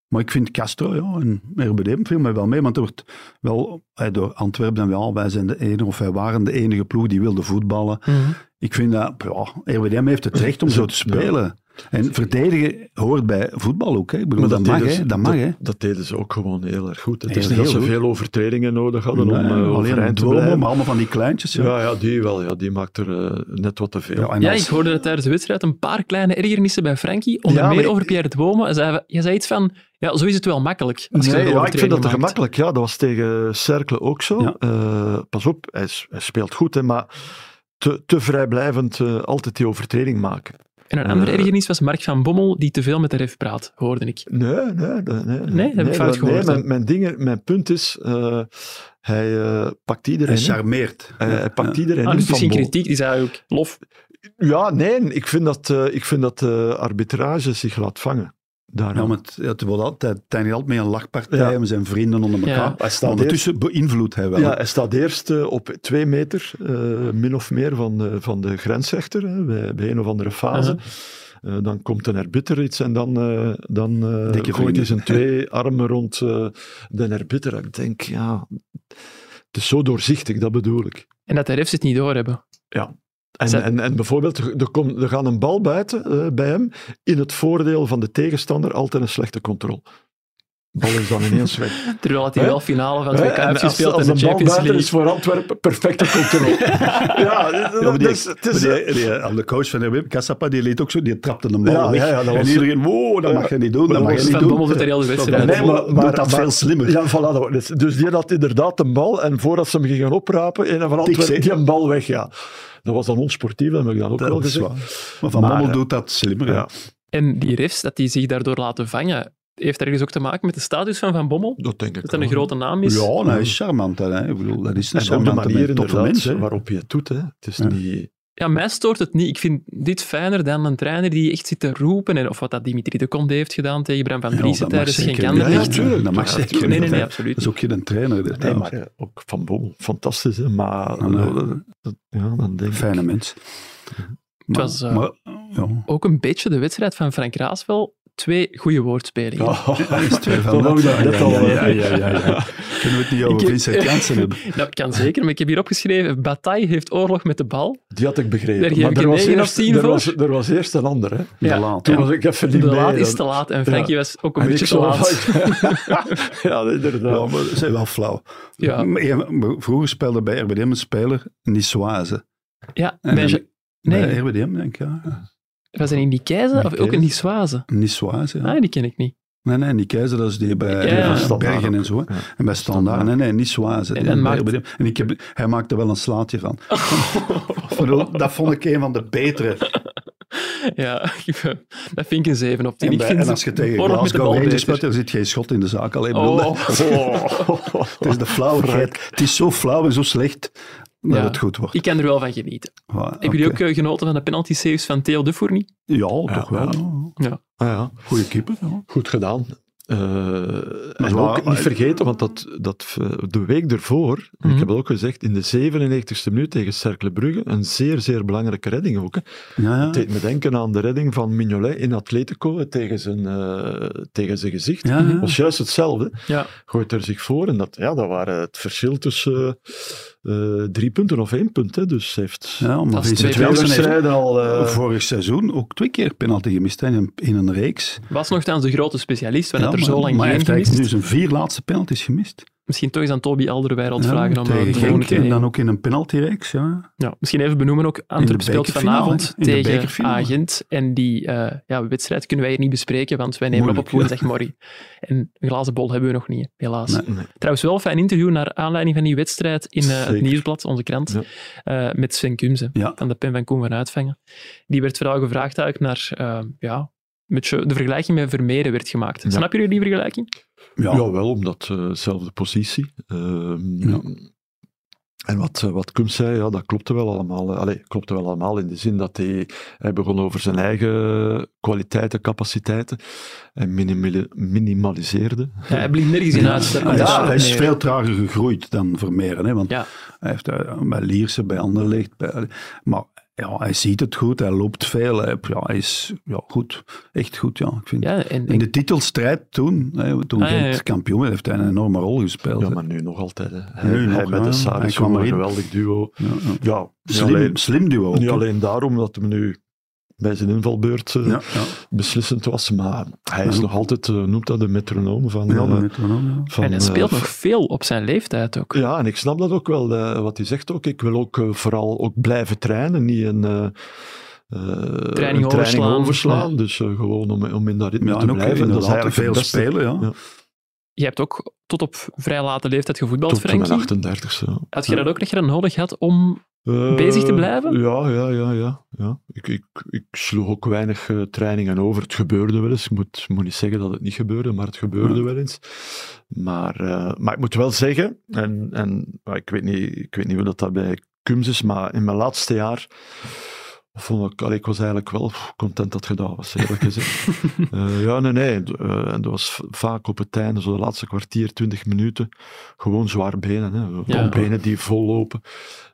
Maar ik vind Castro ja, en RBDM viel mij wel mee. Want er wordt wel eh, door Antwerpen en wel, wij zijn de enige, of wij waren de enige ploeg die wilde voetballen. Hm. Mhm. Ik vind dat, ja, RWDM heeft het recht om zo te spelen. En verdedigen hoort bij voetbal ook. Hè. Ik bedoel, Maar dus dat, mag, deden ze- hè. Dat mag, hè. Dat deden ze ook gewoon heel erg goed. Het Heel, is niet dat heel ze goed. veel overtredingen nodig hadden om Nee, eh, alleen overeind te Duomo, blijven. maar allemaal van die kleintjes. Ja. Ja, ja, die wel. Ja, die maakt er eh, net wat te veel. Ja, en Ja, als- ik hoorde dat tijdens de wedstrijd een paar kleine ergernissen bij Frankie, onder Ja, maar meer ik- over Pierre de Bomen. Hij zei, je zei iets van, ja, zo is het wel makkelijk. Als je Nee, een ja, ik vind overtreding dat te maakt. gemakkelijk. Ja, dat was tegen Cercle ook zo. Ja. Eh, pas op, hij, is- hij speelt goed, hè, maar te, te vrijblijvend eh, altijd die overtreding maken. En een andere Eh. ergernis was Mark van Bommel, die te veel met de ref praat, hoorde ik. Nee, nee, dat- nee. Nee, heb ik fout dat- gehoord, Nee, hè? mijn, mijn, dingen, mijn punt is, eh, hij eh, pakt Hij iedereen in. charmeert. Eh, hij pakt Ja. iedereen Ah, in dus van misschien bol. kritiek, die zei ook, lof. Ja, nee, ik vind dat, eh, ik vind dat de arbitrage zich laat vangen. Ja, Daarom. maar het, het wordt altijd, Tijn altijd met een lachpartij, Ja. we zijn vrienden onder elkaar. Ja. Maar Hij staat Ondertussen beïnvloedt hij wel. Ja, hij staat eerst eh, op twee meter, eh, min of meer, van de, van de grensrechter, hè, bij, bij een of andere fase. Eh, dan komt een arbiter iets en dan, eh dan eh, Dikke gooit hij vrienden. zijn twee armen rond eh, de arbiter. Ik denk, ja, het is zo doorzichtig, dat bedoel ik. En dat de refs het niet doorhebben. En, Zet- en, en bijvoorbeeld, er, komt, er gaat een bal buiten eh, bij hem, in het voordeel van de tegenstander, altijd een slechte controle. Bal is dan ineens weg. Terwijl het hij Hè? wel finale van het Hè? WK En heeft als- gespeeld in als de een bal Champions buiten is League. voor Antwerpen, perfecte controle. ja, Ja, maar die- dus het maar is... die- die- eh, de coach van RWB, Cassapa, die liet ook zo, die trapte hem bal Ja, weg. ja, ja, dat en was- iedereen, wow, dat Ja. mag je niet doen, dat dat mag je was niet Van Bommel doen. doet er heel de wedstrijd. Nee, Nee, maar, maar- maar- dat maar- veel slimmer. Ja, voilà, dat- dus, dus die had inderdaad een bal en voordat ze hem gingen oprapen, een van Antwerpen, Tik, die zeg. een bal weg, ja. Dat was dan onsportief, dat heb ik dan ook wel dat is gezegd. waar. Maar Van Maar, Bommel eh, doet dat slimmer. hè. ja. En die refs, dat die zich daardoor laten vangen, heeft ergens ook te maken met de status van Van Bommel? Dat denk ik Dat dat een wel. grote naam is? Ja, nou, hij is charmant. Hè. Ik bedoel, dat is een Mm. En ook de charmante manier mens, toffe inderdaad mens. hè. waarop je het doet. Hè. Het is Ja. niet... Ja, mij stoort het niet. Ik vind dit fijner dan een trainer die echt zit te roepen. En, of wat dat Dimitri de Conde heeft gedaan tegen Bram van Ja, Driessen dat mag dus tijdens geen zeker. kander. Ja, ja, echt. tuurlijk, dat mag Ja, zeker. tuurlijk. nee, nee, nee, Dat absoluut. is ook geen trainer. dit, Nee, hè. maar eh, ook Van Bommel, fantastisch, hè, maar Ja, nee. eh, dat- ja, dan denk ik... Fijne mens. Maar, was, eh, maar, ja. Ook een beetje de wedstrijd van Frank Raasvel. Twee goede woordspelingen. Ja, is twee van Dat wou dat. ik Ja, net ja, al, ja, eh. ja, ja, ja, ja. Kunnen we het niet over Ik- Vincent Janssen hebben? Dat kan zeker, maar ik heb hier opgeschreven, Bataille heeft oorlog met de bal. Die had ik begrepen. Daar geef ik maar er een was, negen of eerst, tien er, voor. was, er was eerst een ander. Hè. Ja. De laat. Toen Ja. was ik even De niet mee. laat is te dan. laat en Frankie was ook een En beetje ik te zo laat. van- ja, Ja, inderdaad. maar ze zijn wel flauw. eh, Ja. Maar een- maar Vroeger speelde bij RBDM een speler Niçoise. Ja, En- bij Ja- Nee. nee, Bij RBDM, denk ik, ja. was dat in die Keizer of Nikkei. ook in die Soise? Niçoise, ja. Ah, die ken ik niet. Nee, nee, die keizer, dat is die bij Ja, ja. van Bergen en zo. hè. Ja. En bij Standaard. Nee, nee, Niçoise. En dan die bij maakt- RBDM. En ik heb, hij maakte wel een slaatje van. Ik bedoel, dat vond ik een van de betere. Ja, dat vind ik een 7 op 10. En, ik bij- vind en als je tegen oorlog met de Glasgow bal Rangers beter. speelt, dan zit geen schot in de zaak. Alleen, bedoel, Oh, Oh. Het is de flauwigheid. Het is zo flauw en zo slecht dat Ja. het goed wordt. ik kan er wel van genieten. Ja, Hebben jullie ook oké. eh, genoten van de penalty saves van Theo de Fournie? Ja, toch Ja, wel. Ah, ja. Goeie keeper. Ja. Goed gedaan. Eh, en waar, ook maar- niet vergeten, want dat, dat, eh, de week ervoor, Mhm. ik heb het ook gezegd, in de 97e minuut tegen Cercle Brugge, een zeer, zeer belangrijke redding ook. hè. Ja, ja. Het deed me denken aan de redding van Mignolet in Atletico eh, tegen zijn, eh, tegen zijn gezicht. Ja, Mhm. ja. was juist hetzelfde. Ja. Gooit er zich voor en dat, ja, dat waren het verschil tussen eh, eh, drie punten of één punt. Hè. Dus hij heeft Ja, maar Dat is Vincent twee twee Janssen heeft wedstrijden al... eh, vorig seizoen ook twee keer penalty gemist hè, in een, in een reeks. Was nogthans de grote specialist, we hadden Ja, er zo maar- lang maar hij geen heeft eigenlijk gemist. nu zijn vier laatste penalties gemist. Misschien toch eens aan Toby Alderweireld Ja, vragen om eh, tegen de volgende Genk keer. en dan ook in een penaltyreeks. Ja. Ja, misschien even benoemen ook, Antwerp de speelt bekerfinale, vanavond hè? In de tegen bekerfinale. Agent. En die eh, ja, wedstrijd kunnen wij hier niet bespreken, want wij nemen Moeilijk, op op woensdagmorgen. En een glazen bol hebben we nog niet, helaas. Nee. nee. Trouwens wel een fijn interview naar aanleiding van die wedstrijd in eh, het Zeker. Nieuwsblad, onze krant, Ja. eh, met Sven Kumse. Ja. Van de pen van Koen van Uitvangen. Die werd vooral gevraagd eigenlijk naar, eh, ja, een beetje de vergelijking met Vermeeren werd gemaakt. Ja. Snap jullie die vergelijking? Ja. Ja. wel omdat eh, zelfde positie. Ehm, Ja. En wat, eh, wat Kums zei, ja, dat klopte wel allemaal. eh. Allee, klopte wel allemaal in de zin dat hij, hij begon over zijn eigen kwaliteiten, capaciteiten en minimali- minimaliseerde. Ja, hij blinkt nergens in uit. Ja, ja, hij is nee. veel trager gegroeid dan Vermeeren. Hè, want Ja. hij heeft eh, bij Lierse, bij Anderlecht. Bij, maar ja, hij ziet het goed, hij loopt veel. Hij, ja, hij is ja, goed, echt goed. Ja, ik vind. Ja, en, In de titelstrijd toen, hè, toen Ah, ja, Gent ja. kampioen werd, heeft hij een enorme rol gespeeld. Ja, hè. maar nu nog altijd. Hè. Hij, Nu hij met nog, ja. de Hij Saris, kwam een erin. geweldig duo. Ja, ja. Ja, niet Slim, alleen, slim duo. ook, niet hè. alleen daarom dat hem nu bij zijn invalbeurt eh, Ja, ja. beslissend was, maar hij Maar is ook- nog altijd, eh, noemt dat de metronoom van... Ja, eh, de metronoom, ja. van, en hij speelt eh, nog veel op zijn leeftijd ook. Ja, en ik snap dat ook wel, eh, wat hij zegt ook. Ik wil ook eh, vooral ook blijven trainen, niet een, eh, eh, een training overslaan. Ja. Dus eh, gewoon om, om in dat ritme Ja, te en ook blijven. inderdaad Dat is eigenlijk veel het beste. spelen. Ja. Ja. Je hebt ook tot op vrij late leeftijd gevoetbald, Tot mijn Frankie. 38 e Had je dat ook nog graag nodig gehad om... Bezig te blijven? Eh, Ja, ja, ja. ja, ja. Ik, ik, ik sloeg ook weinig eh, trainingen over. Het gebeurde wel eens. Ik moet, moet niet zeggen dat het niet gebeurde, maar het gebeurde Ja. wel eens. Maar, eh, maar ik moet wel zeggen, en, en ah, ik, weet niet, ik weet niet hoe dat, dat bij Kums is, maar in mijn laatste jaar Vond ik, allee, ik was eigenlijk wel pff, content dat het gedaan was, eerlijk gezegd. Eh, ja, nee, nee. Eh, en dat was v- vaak op het einde, zo de laatste kwartier, twintig minuten, gewoon zwaar benen. Hè. Benen die vollopen.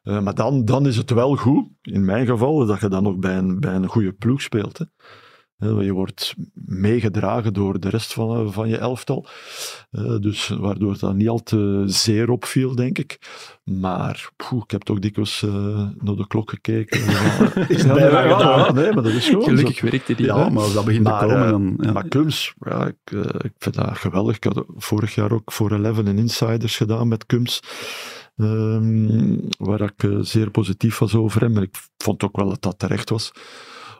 Eh, maar dan, dan is het wel goed, in mijn geval, dat je dan nog bij een, bij een goede ploeg speelt. Hè. Hè, want Je wordt meegedragen door de rest van, van je elftal. Eh, dus waardoor het dan niet al te zeer opviel, denk ik. Maar poeh, ik heb toch dikwijls eh, naar de klok gekeken. is bijna gedaan, hè? Nee, maar dat is gewoon zo. Gelukkig werkte die. Ja, Ja, maar als dat begint maar, te eh, komen, dan... Ja. Maar Kums, ja, ik, eh, ik vind dat geweldig. Ik had vorig jaar ook voor Eleven en Insiders gedaan met Kums. ehm, waar ik eh, zeer positief was over hem. En ik vond ook wel dat dat terecht was.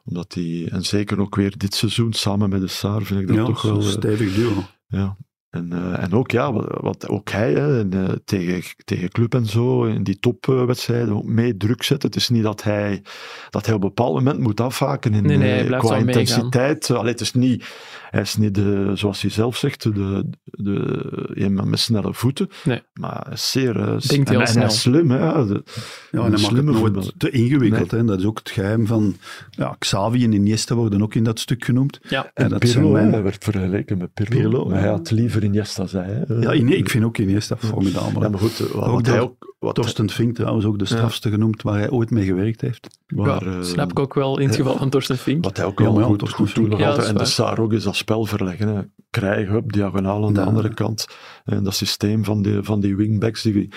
Omdat hij, en zeker ook weer dit seizoen, samen met de Saar, vind ik dat ja, toch wel... eh, stevig duo. ja. En, eh, en ook, ja, wat, wat ook hij hè, en, eh, tegen, tegen club en zo, in die topwedstrijden, ook mee druk zetten. Het is niet dat hij, dat hij op een bepaald moment moet afhaken in, Nee, nee, hij eh, blijft qua wel meegaan. intensiteit. Eh, Allee, het is niet, hij is niet, de, zoals hij zelf zegt, de, de, iemand met snelle voeten. Nee. Maar hij is zeer... eh, s- Denkt en, heel en hij is slim, hè. Ja, de- Ja, een en dan maakt het slimme nooit voetballer. te ingewikkeld. Nee. Hè. Dat is ook het geheim van... Ja, Xavi en Iniesta worden ook in dat stuk genoemd. Ja. En dat Pirlo, zijn hè, mijn- hij werd vergeleken met Pirlo. Pirlo, maar hij ja. had liever Iniesta, zei hij. Ja, Ine- ik vind ook Iniesta Ja, formidabel. maar goed, eh, wat, Eh, Ook hij dat- ook... Wat, Torsten Fink trouwens ook de strafste genoemd waar hij ooit mee gewerkt heeft. Ja, waar, eh, snap ik ook wel in het geval van Torsten Fink. Wat hij ook Ja, wel maar ja, goed, toch goed goed doet nog Ja, altijd. dat En is de Saar ook is dat spel verleggen. Hè. Krijg, hup, diagonaal aan de Ja. andere kant. En dat systeem van die, van die wingbacks, die,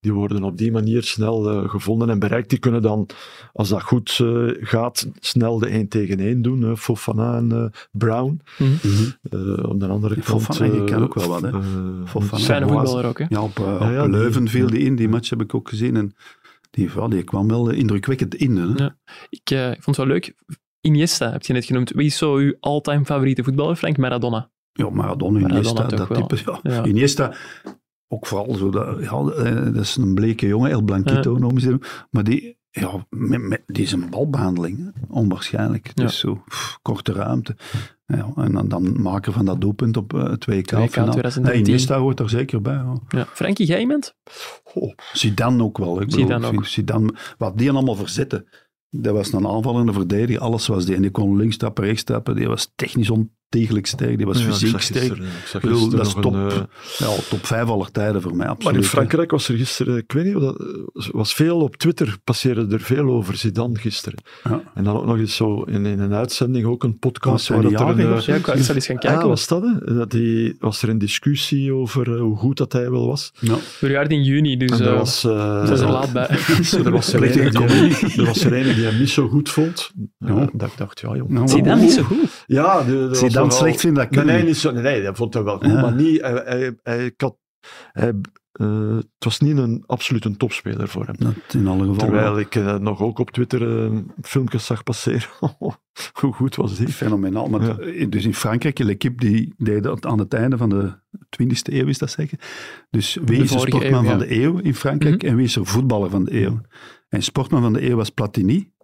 die worden op die manier snel eh, gevonden en bereikt. Die kunnen dan, als dat goed eh, gaat, snel de 1 tegen 1 doen. hè. Fofana en eh, Brown. Mhm. Eh, op de andere Die kant... Fofana, die eh, kan ook wel wat, hè. eh, Fofana. Fijne Savoise. voetballer ook, hè? Ja, op, eh, op ja, die- Leuven viel die in. Die match heb ik ook gezien. En die, ja, die kwam wel eh, indrukwekkend in. Hè. Ja. Ik eh, vond het wel leuk. Iniesta heb je net genoemd. Wie is zo uw all-time favoriete voetballer? Frank Maradona. Ja, Maradona, Maradona Iniesta, toch dat wel. type. Ja. Ja. Iniesta, ook vooral zo, dat, ja, eh, dat is een bleke jongen, El Blanquito noemen ze hem. Maar die, ja, met, met- die is een balbehandeling, hè. onwaarschijnlijk. Ja. Dus zo, pff, korte ruimte. Ja, en dan, dan maken van dat doelpunt op eh, 2K 2K. finaal. 2013. Nee, Iniesta hoort er zeker bij. Ja. Ja. Frankie, jij iemand? Zidane ook wel. Ik bedoel, Zidane ik vind ook. Zidane, wat die allemaal verzette, dat was een aanvallende verdediger, alles was die. En die kon links stappen, rechts stappen, die was technisch ontegelijk sterk, die was Ja, ik fysiek zag sterk. gisteren, ik zag Ik bedoel, gisteren dat is nog top, een, eh, ja, top 5 aller tijden voor mij, absoluut. Maar in hè. Frankrijk was er gisteren, ik weet niet, dat eh, was veel op Twitter, passeerde er veel over Zidane gisteren. Ja. En dan ook nog eens zo in, in een uitzending, ook een podcast. Was hij Waar dat er jarig een, of eh, zo? Ja, ik wou- ik zal eens gaan kijken. ah, was dat, hè? Dat die, was er een discussie over eh, hoe goed dat hij wel was. Ja. Verjaard in juni, dus En eh, daar was, eh, ze is er laat bij. er was er Plechtige ene die, er was er ene die hem niet zo goed vond. Eh, Ja. Dat ik dacht, ja jong. Nou, Zidane niet zo goed. Ja, de, de Zidane slecht vindt, dat Nee, kan nee, niet. niet zo, nee, nee, dat vond hij wel goed, Ja. maar niet, hij, hij, hij, had- hij, eh, het was niet een absoluut een topspeler voor hem. Dat in alle gevallen. Terwijl ik eh, nog ook op Twitter eh, filmpjes zag passeren. Hoe goed was die? Fenomenaal. Maar Ja. t- Dus in Frankrijk, L'Equipe die deed dat aan het einde van de 20e eeuw, is dat zeggen. Dus wie De is de vorige sportman eeuw, van ja. Mhm. de eeuw in Frankrijk en wie is er voetballer van de eeuw? En sportman van de eeuw was Platini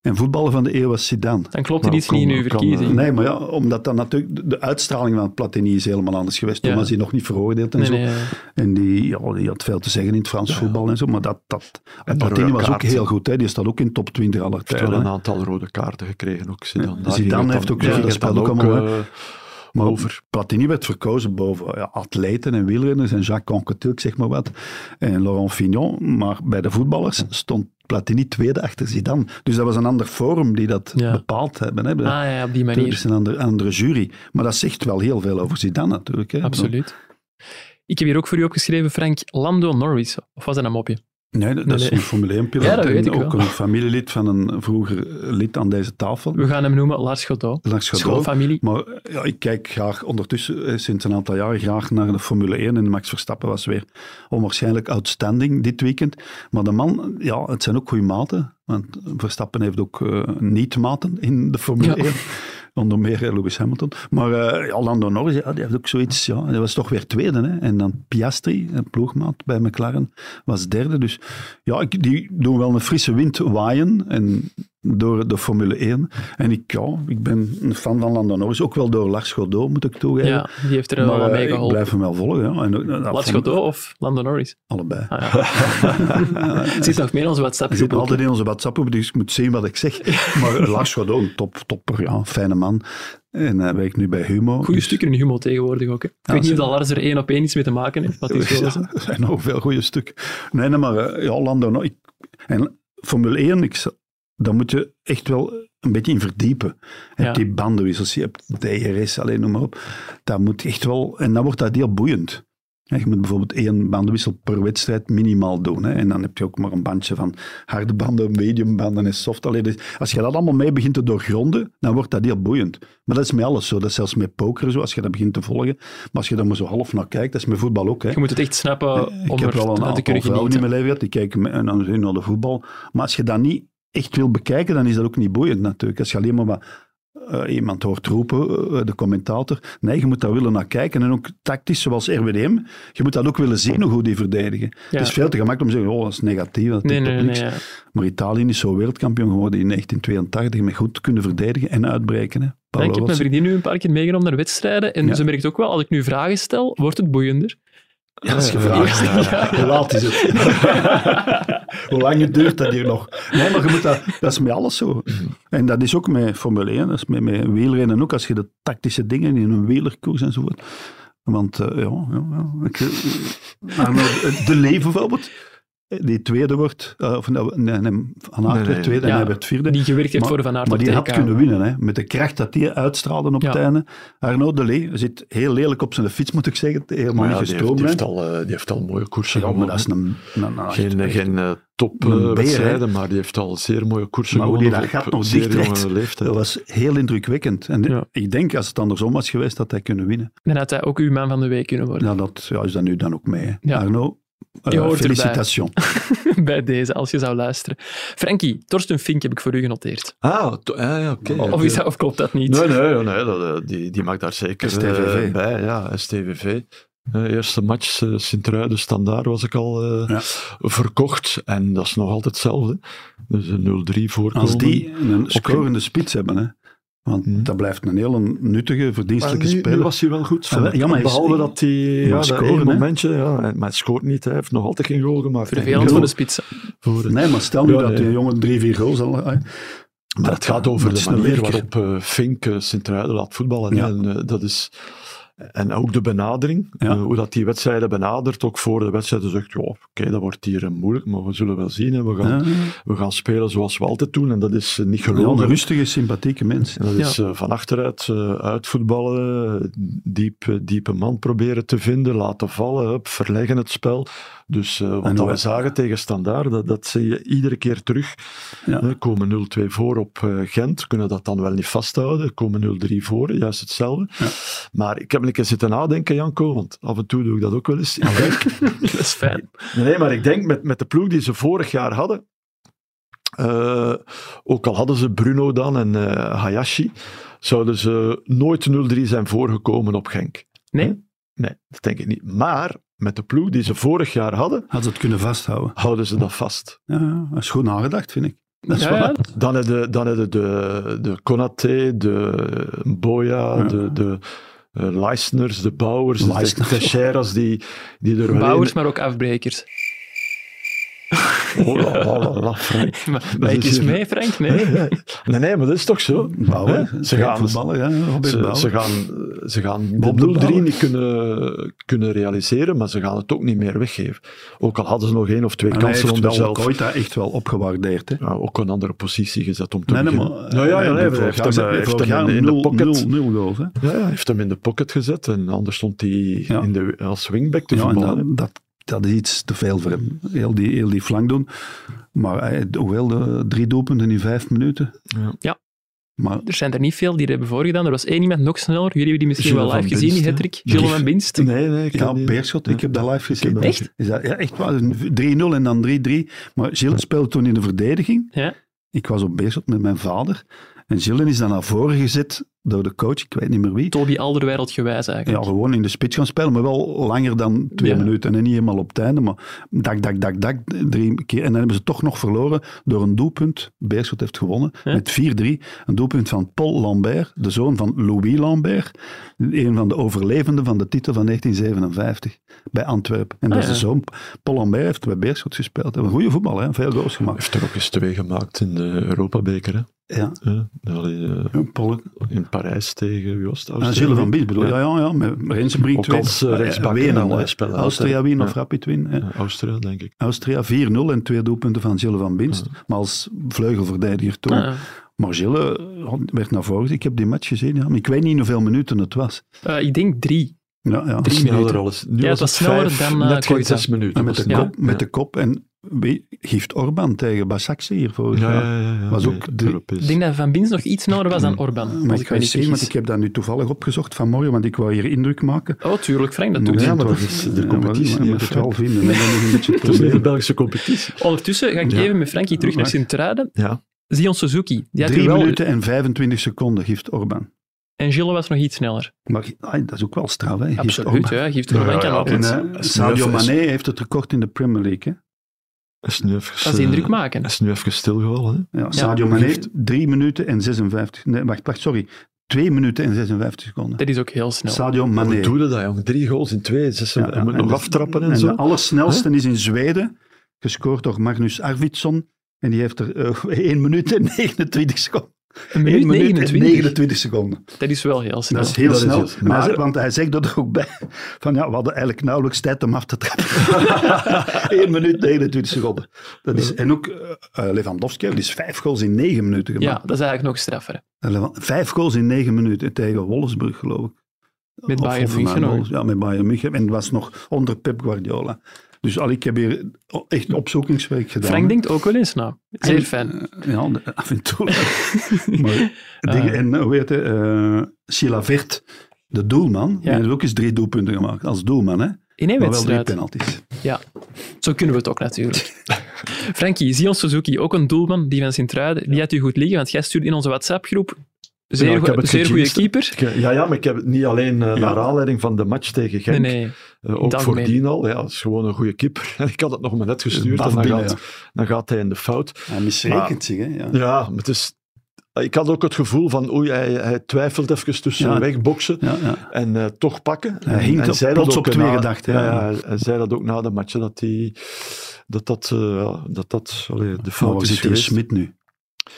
en voetballer van de eeuw was Zidane. Dan klopt er Nou, iets niet in kom, uw kan, verkiezing. eh, Nee, maar ja, omdat dan natuurlijk de- de uitstraling van Platini is helemaal anders geweest. Ja. Toen was hij nog niet veroordeeld en Nee, zo. nee, eh, En die, ja, die had veel te zeggen in het Frans voetbal en zo. Maar dat, dat, En Platini rode was ook kaarten. heel goed. Hè. Die staat ook in top 20 aller Hij heeft tijden. wel hè. een aantal rode kaarten gekregen ook. Zidane, Ja, Daar Zidane ging het heeft dan- ook gezien, dat dat speelt speelt ook allemaal, eh, Maar over. Platini werd verkozen boven ja, atleten en wielrenners en Jacques Anquetil, ik zeg maar wat, en Laurent Fignon. Maar bij de voetballers stond Platini tweede achter Zidane. Dus dat was een ander forum die dat Ja. bepaald hebben. Hè. Ah ja, op die dat manier. is een andere, andere jury. Maar dat zegt wel heel veel over Zidane natuurlijk. Hè. Absoluut. Ik heb hier ook voor u opgeschreven, Frank, Lando Norris. Of was dat een mopje? Nee, dat, Nee, dat is nee. een Formule 1 piloot. Ja, dat weet en ik ook wel. een familielid van een vroeger lid aan deze tafel. We gaan hem noemen Lars Godot. Lars Godot. Schoolfamilie. Maar ja, ik kijk graag ondertussen, eh, sinds een aantal jaren, graag naar de Formule 1. En Max Verstappen was weer onwaarschijnlijk outstanding dit weekend. Maar de man, ja, het zijn ook goede maten. Want Verstappen heeft ook eh, niet-maten in de Formule Ja. 1. Onder meer eh, Lewis Hamilton. Maar eh, ja, Lando Norris, ja, die heeft ook zoiets. Ja, die was toch weer tweede. Hè? En dan Piastri, een ploegmaat bij McLaren, was derde. Dus ja, ik, die doen wel een frisse wind waaien. En door de Formule 1. En ik, ja, ik ben een fan van Lando Norris, ook wel door Lars Godot, moet ik toegeven. Ja, die heeft er wel eh, maar wat eh, mee ik geholpen. blijf hem wel volgen. Ja. En, ook- dat Lars vond- Godot of Lando Norris? Allebei. Ah, ja. Het zit nog meer in onze WhatsApp. Hij Eh, zit nog altijd in onze WhatsApp, dus ik moet zien wat ik zeg. Maar Lars Godot, een top, topper, ja, fijne man. En hij werkt nu bij Humo. Goede Dus- stukken in Humo tegenwoordig ook. Hè. Ik weet niet of dat Lars er één op één iets mee te maken heeft. Maar het is wel zo. Ja, er zijn nog veel goede stukken. Nee, nee maar eh, ja, Lando, nou, ik, en Formule 1, ik, z- daar moet je echt wel een beetje in verdiepen. Je hebt Ja. die bandenwissels, je hebt DRS, alleen noem maar op. Dat moet echt wel, en dan wordt dat heel boeiend. Hè, Je moet bijvoorbeeld één bandenwissel per wedstrijd minimaal doen. Hè. En dan heb je ook maar een bandje van harde banden, mediumbanden en soft. Allee, dus als je dat allemaal mee begint te doorgronden, dan wordt dat heel boeiend. Maar dat is met alles zo. Dat is zelfs met poker zo, als je dat begint te volgen. Maar als je daar maar zo half naar kijkt, dat is met voetbal ook. Hè. Je moet het echt snappen Eh, Ik Eh, om heb er wel een aan te aantal kunnen vrouwen in genieten. mijn leven gehad, die kijken me- en dan zien naar de voetbal. Maar als je dat niet echt wil bekijken, dan is dat ook niet boeiend natuurlijk. Als je alleen maar wat, eh, iemand hoort roepen, eh, de commentator. Nee, je moet daar willen naar kijken. En ook tactisch, zoals RWDM, je moet dat ook willen zien hoe goed die verdedigen. Ja. Het is veel te gemakkelijk om te zeggen, oh, dat is negatief, dat Nee, is nee, nee. niks. ja. Maar Italië is zo wereldkampioen geworden in 1982 met goed kunnen verdedigen en uitbreken. Hè. Ja, Paolo ik heb mijn Rossi. vriendin nu een paar keer meegenomen naar wedstrijden. En Ja. ze merkt ook wel, als ik nu vragen stel, wordt het boeiender. Ja, dat is gevraagd. Hoe laat is het? Hoe lang duurt dat hier nog? Nee, maar je moet dat, dat is met alles zo. En dat is ook met Formule 1, dat is met, met wielrennen ook, als je de tactische dingen in een wielerkoers enzovoort. Want eh, ja, ja, ja. Ik, eh, Arno, eh, de Lee bijvoorbeeld, die tweede wordt, eh, of nou, nee, nee, Van Aert Nee, nee, werd tweede ja. en hij werd vierde. Die gewerkt heeft voor Van Aert Maar op die had TK. kunnen winnen, hè, met de kracht dat die uitstraalde op Ja. het einde. Arnaud Delee zit heel lelijk op zijn fiets, moet ik zeggen. Helemaal Maar ja, niet die, heeft, die, gestroomlijnd. heeft al, eh, die heeft al mooie koersen Ja, maar gewonnen. dat is een... een- een- Geen, echt- geen eh, top Een eh, beer, hè? wedstrijden, maar die heeft al zeer mooie koersen Maar hoe gewonnen. die dat op gat nog zeer dicht trekt. jonge leeftijd. dat was heel indrukwekkend. En Ja. ik denk, als het andersom was geweest, dat hij kunnen winnen. Dan had hij ook uw man van de week kunnen worden. Nou, dat ja, is dat nu dan ook mee. hè. Ja. Arno, eh, Je hoort erbij. felicitations. Bij deze, als je zou luisteren. Frankie, Torsten Fink heb ik voor u genoteerd. Ah, to- ah, ja, oké. Of, is dat, of klopt dat niet? Nee, nee, ja, nee dat, eh, die, die maakt daar zeker STVV. eh, bij. Ja, STVV. Eh, eerste match eh, Sint-Truiden standaard was ik al eh, Ja. verkocht. En dat is nog altijd hetzelfde. Dus een 0-3 voorkomen. Als die een scorende spits hebben, hè. Want Hmm. dat blijft een heel nuttige, Maar verdienstelijke nu, nu speler. was hij wel goed. Ah, wel, ja, maar hij is- Behalve dat hij ja, dat scoren, één hè. momentje, ja, en- maar hij scoort niet. Hij heeft nog altijd geen goal gemaakt. Vervelend Ik voor bedoel, de spitsen. voor het- Nee, maar stel nu Ja, dat nee. die jongen drie, vier goals al... hè. Maar het gaat over dat de is een manier leerker. waarop eh, Fink eh, Sint-Truiden laat voetballen. Ja. En, eh, dat is, en ook de benadering, Ja. eh, hoe dat die wedstrijden benadert, ook voor de wedstrijden zegt, ja, oké, dat wordt hier eh, moeilijk, maar we zullen wel zien. Hè. We, gaan, Ja, we gaan spelen zoals we altijd doen en dat is eh, niet een gelogen. rustige, sympathieke mens. En dat Ja. is eh, van achteruit eh, uitvoetballen, eh, diep, eh, diepe man proberen te vinden, laten vallen, hup, verleggen het spel. Dus eh, En wat dat hoe- we zagen tegen Standaard, dat, dat zie je iedere keer terug. Ja. Eh, komen 0-2 voor op eh, Gent, kunnen dat dan wel niet vasthouden. Komen 0-3 voor, juist hetzelfde. Maar ik heb een keer zitten nadenken, Janko, want af en toe doe ik dat ook wel eens. Ah, Ik denk, Dat is fijn. Nee, maar ik denk met, met de ploeg die ze vorig jaar hadden. eh, ook al hadden ze Bruno dan en eh, Hayashi, zouden ze nooit 0-3 zijn voorgekomen op Genk. Nee? Nee, dat denk ik niet. Maar met de ploeg die ze vorig jaar hadden, Had ze het kunnen vasthouden. houden ze dat vast. Ja, dat is goed nagedacht, vind ik. Dat is Ja, waar. ja. Dan hebben dan hebben de, de Konaté, de Boya, Ja. de, de eh, Leisners, de Bouwers, de Leisner. Teixeiras, die, die er wel Bouwers, in- maar ook afbrekers. Oh, la, la, la, la, Frank. Maar Dat Wijk is is hier- mee, Frank? Nee. Nee, nee, maar dat is toch zo? Bouwen, Hè? hè. Ze Geen gaan- voetballer, ja, Robert Ze, Bouwen. ze gaan, ze gaan Bob de de 0-3 Bouwer. niet kunnen, kunnen realiseren, maar ze gaan het ook niet meer weggeven. Ook al hadden ze nog één of twee En hij kansen heeft om er wel zelf Koita echt wel opgewaardeerd. Hè? ja, ook een andere positie gezet om te Nee, nee, maar, beginnen. nou ja, ja, nee, hij heeft hem, eh, heeft hem in, in de pocket. goals. Hè? Ja, ja, hij heeft hem in de pocket gezet en anders stond hij Ja. in de, als wingback te Ja, en voetballen. dat, dat, dat is iets te veel voor hem. Heel die, heel die flank doen. Maar hij, hoewel de drie doelpunten in vijf minuten. Ja. Ja. Dus Maar Er zijn er niet veel die er hebben voorgedaan. Er was één iemand nog sneller. Jullie hebben die misschien Gilles wel live van gezien, die Binst, hattrick. hè? Gilles van Binst. Nee, nee, ik ja, kan niet. Beerschot, ik heb dat live gezien. Echt? Is dat, ja, echt waar. 3-0 en dan 3-3. Maar Gilles speelde toen in de verdediging. Ja. Ik was op Beerschot met mijn vader. En Gilles is dan naar voren gezet door de coach, ik weet niet meer wie. Toby Alderwereld gewijs Ja, eigenlijk. gewoon in de spits gaan spelen, maar wel langer dan twee Ja. minuten. En niet helemaal op het einde, maar dak, dak, dak, dak, drie keer. En dan hebben ze toch nog verloren door een doelpunt. Beerschot heeft gewonnen Ja. met 4-3. Een doelpunt van Paul Lambert, de zoon van Louis Lambert. Een van de overlevenden van de titel van 1957 bij Antwerpen. En dat Ah, is ja. de zoon. Paul Lambert heeft bij Beerschot gespeeld. Een goede voetbal, hè? veel goals gemaakt. heeft er ook eens twee gemaakt in de Europabeker. Hè? Ja. Ja, allee, eh, Paul, in Parijs tegen, wie was het? Ah, Gilles van Bies bedoel je? Ja, ja, ja. Met Rensenbrink Ook twee. als, eh, rechtsback, Wenen, hè, hè. hij speelt Austria altijd. Wien of Ja. Rapid Wien. hè. Ja, Austria, denk ik. Austria 4-0 en twee doelpunten van Gilles van Binst. Maar als vleugelverdediger toen. Ah, ja. Maar Gilles eh, werd naar voren. gezet. Ik heb die match gezien, ja. maar ik weet niet hoeveel minuten het was. Eh, ik denk drie. Ja, ja. Drie Sneller minuten. alles. Nu Ja, het was was sneller vijf, dan, eh, net geen Koita. zes minuten. En met de was het. kop. Met de kop. En wie geeft Orban tegen Basaksehir hier vorig Ja, ja, jaar? ja. ja, ja. Was Nee, ook het de- Ik Europees. denk dat Van Bins nog iets sneller was dan Orban. Maar als ik ik me weet niet niet, want vergis. ik heb dat nu toevallig opgezocht vanmorgen, want ik wou hier indruk maken. Oh, tuurlijk, Frank, Maar natuurlijk. Ja, maar toch dat is de eens- ja, competitie maar niet Je moet het even. wel vinden. hè. Dat is een beetje Het het is niet de probleem. Belgische competitie. Ondertussen ga ik Ja. even met Frankie terug naar Wacht. Sint-Truiden. Ja. Zion Suzuki. Die had Drie hier wel- minuten en 25 seconden geeft Orban. En Gilles was nog iets sneller. Maar ai, dat is ook wel straf, hè? Geeft Absoluut, Orban. ja. Geeft er wel Ja, een ja, aan ja. op. En Dat eh, Dat is Sadio nu even- Mané heeft het record in de Premier League. Hè? Is nu even, is indruk maken. is nu even stilgevallen. Hè? Ja, Sadio maar Mané, heeft- 3 minuten en 56... Nee, wacht, wacht, sorry. 2 minuten en 56 seconden. Dus Dat is ook heel snel. Sadio Hoe Mané. doe je dat, jong? Drie goals in twee. Zes, Ja, je moet en nog de- aftrappen en, en zo. de allersnelste is in Zweden, gescoord door Magnus Arvidsson. En die heeft er eh 1 minuut en 29 seconden. Een 1 minuut minuut 29. en 29 seconden. Dat is wel heel snel. Dat is heel Dat is snel. het. Maar hij Maar- zegt- want hij zegt dat er ook bij. Van ja, we hadden eigenlijk nauwelijks tijd om af te trappen. 1 minuut 29 seconden. Dat is, en ook eh, eh, Lewandowski heeft dus vijf goals in negen minuten Ja, gemaakt. dat is eigenlijk nog straffer. En Lewa- Vijf goals in negen minuten tegen Wolfsburg, geloof ik. Met Of Bayern Hoffenheim, München ook. Wolfs- Ja, met Bayern München. En het was nog onder Pep Guardiola. Dus al, ik heb hier o- echt opzoekingswerk gedaan. Frank denkt ook wel eens na. Zeer En, fijn. eh, Ja, de- af en toe. maar, dingen- en eh, hoe heet het? eh Chilavert, de doelman, die heeft ook eens drie doelpunten gemaakt als doelman. Hè? In één Maar wel drie wedstrijd. penalties. Ja, zo kunnen we het ook natuurlijk. Frankie, Zion Suzuki, ook een doelman, die van Sint-Truiden, die had u goed liggen, want jij stuurde in onze WhatsApp-groep Ja, zeer, Nou, ik heb goe- het zeer goede gejinxed. keeper. Ik, eh, Ja, ja, maar ik heb het niet alleen eh, naar aanleiding van de match tegen Nee, Genk. nee. Eh, ook het algemeen. voordien al. Ja, dat is gewoon een goede keeper. ik had het nog maar net gestuurd. Baf En dan, binnen, gaat, dan gaat hij in de fout. Hij misrekent zich. Hè? Ja. Ja, maar het is... Ik had ook het gevoel van, oei, hij, hij twijfelt even tussen Ja. wegboksen Ja, ja. en eh, toch pakken. Hij hinkt en op- plots op twee gedachten, Ja, ja. ja, hij- hij zei dat ook na de match, hè, dat die, dat, dat, eh, ja, dat, dat allee, de Maar fout waar is zit die geweest. Smit nu? Daar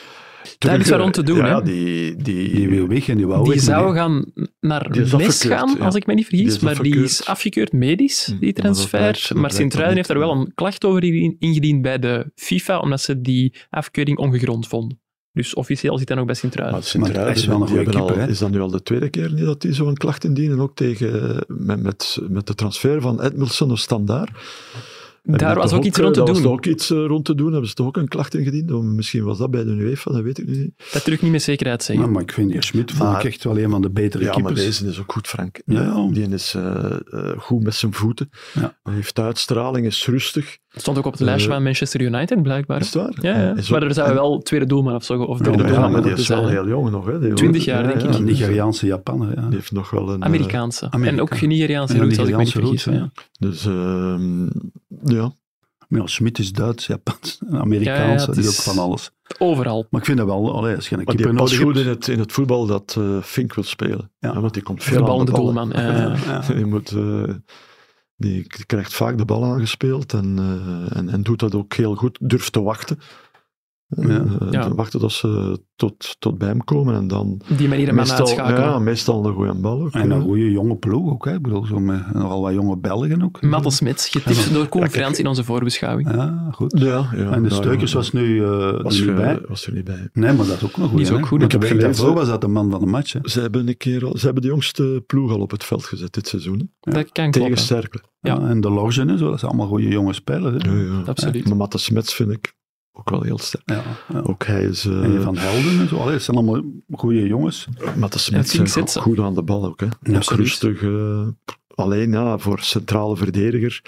Terug, is wat eh, om te doen, ja, hè. Die, die, Die wil weg en die wou Die weg, zou maar gaan naar Die is Mes afgekeurd, gaan, ja. als ik me niet vergis, Die is maar die is afgekeurd. afgekeurd medisch, Hm, die maar dat blijkt- transfer. dat Maar blijkt Sint-Truiden dan heeft daar niet. wel een klacht over in- ingediend bij de FIFA, omdat ze die afkeuring ongegrond vonden. Dus officieel zit hij nog bij Maar Sint-Truiden. Sint-Truiden, hij is wel een die goede hebben keeper, al- hè? Is dat nu al de tweede keer niet dat die zo'n klacht indienen? Ook tegen, eh, met, met, met de transfer van Edmilson of Standaard. En Daar eh, met was de ook Hok, iets rond te daar was doen. ook iets eh, rond te doen. Hebben ze toch ook een klacht ingediend? Of misschien was dat bij de UEFA, dat weet ik nu niet. Dat durf ik niet met zekerheid zeggen. Ja, maar ik vind die Smit vond Maar- ik echt wel een van de betere Ja, maar keepers. deze is ook goed, Frank. Ja, ja. Die is eh, eh, goed met zijn voeten. Ja. Hij heeft uitstraling, is rustig. Het stond ook op het lijstje Eh, van Manchester United, blijkbaar. Is het waar? Ja, ja. Eh, Is ook- maar er zou en- wel tweede doelman of zo, of derde Ja, Ja, doelman maar die moeten is wel zijn. heel jong nog. Hè. Die- 20 eh, jaar, denk ik. Een die is- Nigeriaanse Japaner. Ja. Die heeft nog wel een... eh, Amerikaanse. En Amerika. ook Nigeriaanse Ja, roots, als ik me niet vergis. Nigeriaanse Ja. roots, dus, ehm, ja. Maar ja, Smit is Duits, Japans, Ja, ja, Amerikaans, het dat is is- ook van alles. Overal. Maar ik vind dat wel, allee, als je een Maar die keeper past nodig goed hebt... in het, in het voetbal dat eh, Fink wil spelen. Ja. Ja, want die komt veel aan de Verballende ballen. doelman. ja, ja. Ja. Die, moet, eh, die k- krijgt vaak de bal aangespeeld en, eh, en, en doet dat ook heel goed. Durft te wachten. Eh, Ja. eh, Ja. Wachten tot ze tot, tot bij hem komen en dan Op die manier een man meestal, uitschakelen. ja, meestal een goede bal. Ook, En ja. een goede jonge ploeg ook. Hè. Ik bedoel, zo met nogal wat jonge Belgen ook. Matte Smits, getipt door Koen Frans in onze voorbeschouwing. Ja, goed. Ja, ja, en de ja, Steukers ja. was nu eh, was er ge- niet bij. was er niet bij. Nee, maar dat is ook nog goed. Die is ook goed, Ik hè. heb Ik heb gelezen. gelezen- Daarvoor was dat de man van de match. Hè. Ze hebben, een keer al, ze hebben de jongste ploeg al op het veld gezet dit seizoen. hè. Dat kan Tegen kloppen. Cercle. Ja. Ah, en de Lorgen en zo, dat zijn allemaal goede jonge spelers. Hè. Ja, Ja. ja. Absoluut. Maar Matte Smets vind ik ook wel heel sterk. ja. Ook hij is... eh, En die van Helden en zo. Allee, dat zijn allemaal goede jongens. Maar de En Fink Smits zit is ze. ook goed aan de bal ook. Hè. Ook Absoluut. rustig. eh, alleen ja, voor centrale verdediger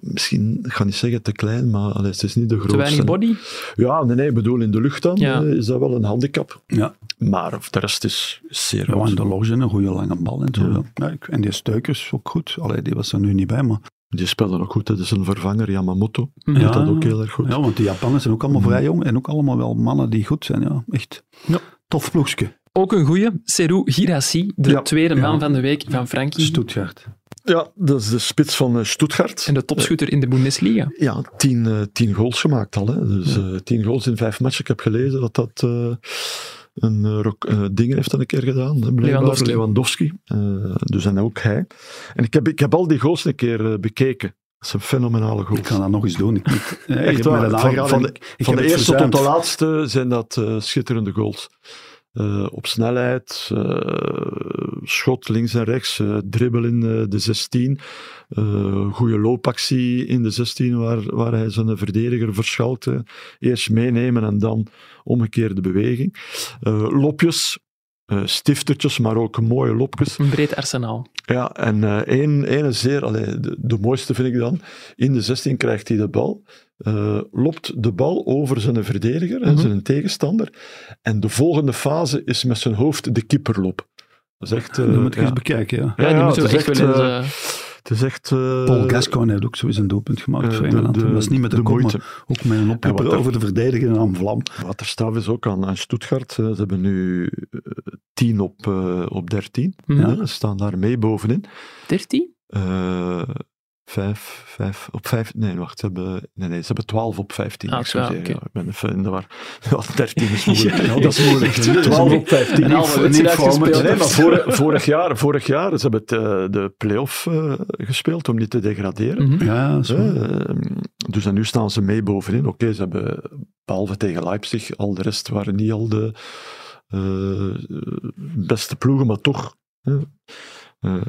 misschien, ik ga niet zeggen te klein, maar allee, het is niet de Te grootste. weinig body. Ja, nee, nee, ik bedoel, in de lucht dan Ja. eh, is dat wel een handicap. Ja. Maar of de rest is zeer Ja, en goed. de loge een goede lange bal en zo. Ja. ik- en die steukers ook goed. Allee, die was er nu niet bij, maar... Die speelden ook goed. Dat is een vervanger, Yamamoto. Mhm. Ja. Doet dat ook heel erg goed. Ja, want die Japanners zijn ook allemaal vrij jong en ook allemaal wel mannen die goed zijn. Ja, echt. Ja. Tof ploegje. Ook een goeie, Seru Girassi, de Ja. tweede Ja. man van de week van Frankrijk. Stuttgart. Ja, dat is de spits van eh, Stuttgart. En de topschutter in de Bundesliga. Ja, tien, eh, tien goals gemaakt al. Hè. Dus eh, tien goals in vijf matchen. Ik heb gelezen dat dat eh, een eh, rok, eh, ding heeft dan een keer gedaan. Hè, blijkbaar. Lewandowski. Lewandowski. Eh, dus en ook hij. En ik heb, ik heb al die goals een keer eh, bekeken. Dat zijn fenomenale goals. Ik ga dat nog eens doen. Ik, ik, ja, je Echt hebt waar, mij dat van- aangeraden van en de- ik- ik Van heb de het eerste tot de verzuimd. laatste zijn dat eh, schitterende goals. Eh, op snelheid, eh, schot links en rechts, eh, dribbel in eh, de 16. eh goede loopactie in de 16 waar, waar hij zijn verdediger verschalt. eh. Eerst meenemen en dan omgekeerde beweging. Eh, lopjes, eh, stiftertjes, maar ook mooie lopjes. Een breed arsenaal. Ja, en eh één, één is zeer, allee, de, de mooiste vind ik dan, in de 16 krijgt hij de bal, eh, lopt de bal over zijn verdediger, en Mhm. zijn tegenstander, en de volgende fase is met zijn hoofd de kipperlop. Dat is echt... eh, Dat moet ik ja. eens bekijken, ja. Ja, die moeten we het is echt wel eens... eh, eh, Het is echt... eh, Paul Gascoigne heeft ook sowieso een doelpunt gemaakt eh, voor de- Engeland. de- dat was niet met de, de kop, moeite. maar ook met een En oppepper wat er- over de verdediger aan Vlam. Wat er staat is ook aan, aan Stuttgart. eh, Ze hebben nu eh, 10 op, eh, op 13. Mhm. Ja, ze staan daar mee bovenin. 13? eh vijf, vijf, op vijf, nee, wacht, ze hebben, nee, nee, ze hebben twaalf op vijftien. Ah, ik zou ja, zeggen, oké. ja, ik ben even in de war. Ja, dertien is moeilijk. Ja, Ja, dat is moeilijk. echt. Twaalf op Een vijftien. halve wedstrijd gespeeld. Nee, maar vorig, vorig, jaar, vorig jaar, ze hebben het, eh, de play-off eh, gespeeld om niet te degraderen. Mhm. Ja, dat is waar. Eh, dus en nu staan ze mee bovenin. Oké, ze hebben behalve tegen Leipzig, al de rest waren niet al de eh, beste ploegen, maar toch. eh, eh,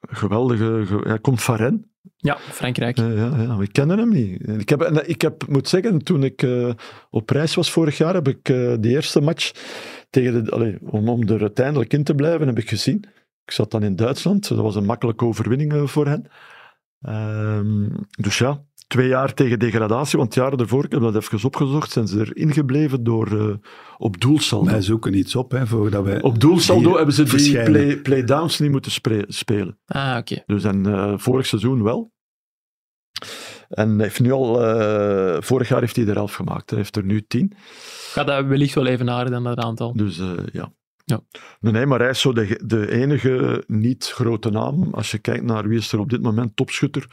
geweldige. ge- ja, komt van Rennes. Ja, Frankrijk. Eh, ja, ja, we kennen hem niet. En Ik, heb, en ik heb, moet zeggen, toen ik eh, op reis was vorig jaar, heb ik eh die eerste match tegen de, allee, om, om er uiteindelijk in te blijven, heb ik gezien. Ik zat dan in Duitsland, dat was een makkelijke overwinning eh, voor hen. Ehm, dus ja, twee jaar tegen degradatie, want jaren daarvoor, ik heb dat even opgezocht, zijn ze erin gebleven door eh, op doelsaldo. Wij zoeken iets op, hè, voordat wij... Op doelsaldo hier hebben ze die verschijnen. play, playdowns niet moeten spre- spelen. Ah, oké. Dus en eh, vorig seizoen wel. En heeft nu al, eh, vorig jaar heeft hij er elf gemaakt. Hij heeft er nu tien. Gaat dat wellicht wel even naar dan dat aantal. Dus eh, ja. Ja. Nee, nee, maar hij is zo de, de enige niet-grote naam. Als je kijkt naar wie is er op dit moment topschutter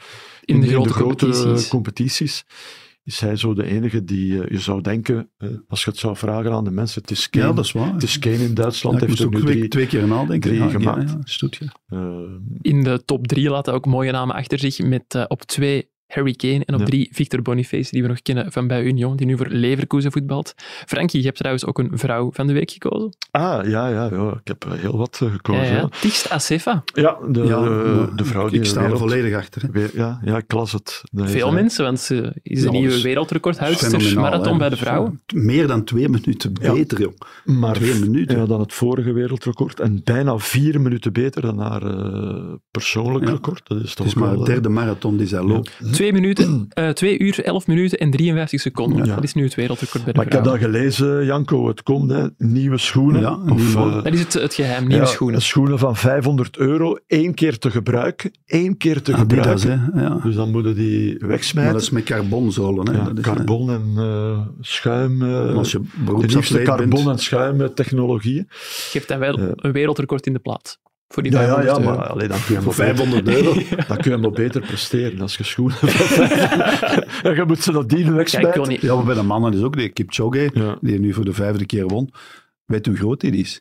In de grote eh, competities. competities, is hij zo de enige die eh, je zou denken, eh, als je het zou vragen aan de mensen, het is Kane, Ja, dat is waar. het is Kane in Ja, Duitsland, ik heeft moest er nu ook twee, drie. twee keer nadenken. drie ja, gemaakt. Ja, ja, Stuttgart. eh, In de top drie laten ook mooie namen achter zich. Met eh, op twee Harry Kane en op Ja. drie Victor Boniface, die we nog kennen van bij Union, die nu voor Leverkusen voetbalt. Frankie, je hebt trouwens ook een vrouw van de week gekozen. ah, ja, ja, ja, ik heb eh, heel wat eh, gekozen. Ja, Ja, ja. Tigst Assefa. Ja, de, eh, Ja, de, de vrouw ik, die ik de sta er wereld- volledig achter. hè. Weer, ja, ja, ik las het. Nee, Veel ze- mensen, want ze is een Ja, dat nieuwe is wereldrecordhoudster Fenomenaal, marathon hè. bij de vrouwen. Meer dan twee minuten Ja. beter, joh. Maar Twee minuten. Ja, dan het vorige wereldrecord. En bijna vier minuten beter dan haar eh, persoonlijk Ja. record. Dat is toch Het is maar wel, de eh, derde marathon die zij loopt. Twee, minuten, eh, twee uur, elf minuten en 53 seconden. Ja. Dat is nu het wereldrecord bij de Maar ik heb vrouwen. dat gelezen, Janko. Het komt, hè. Nieuwe schoenen. Ja, nieuwe- eh, Dat is het, het geheim, nieuwe ja, schoenen. Schoenen van 500 euro. één keer te gebruiken. één keer Ah, te gebruiken. Adidas, hè. Ja. Dus dan moeten die Maar wegsmijten. dat is met carbonzolen, hè. Ja, dat is, hè. carbon en eh, schuim. eh, En Als je de liefste beroepsatleet carbon bent... en schuim eh, technologieën. Geeft dan wel Ja. een wereldrecord in de plaat. Voor die Ja, ja, 500 ja, euro. maar allee, dan kun je hem Voor wel beter- 500 euro. Dan kun je hem wel beter presteren als je schoenen van 500. En je moet ze nadien Kijk, ik wil wegsmijten. niet- Ja, maar bij de mannen is ook de Kipchoge, Ja. die nu voor de vijfde keer won. Weet hoe groot die is?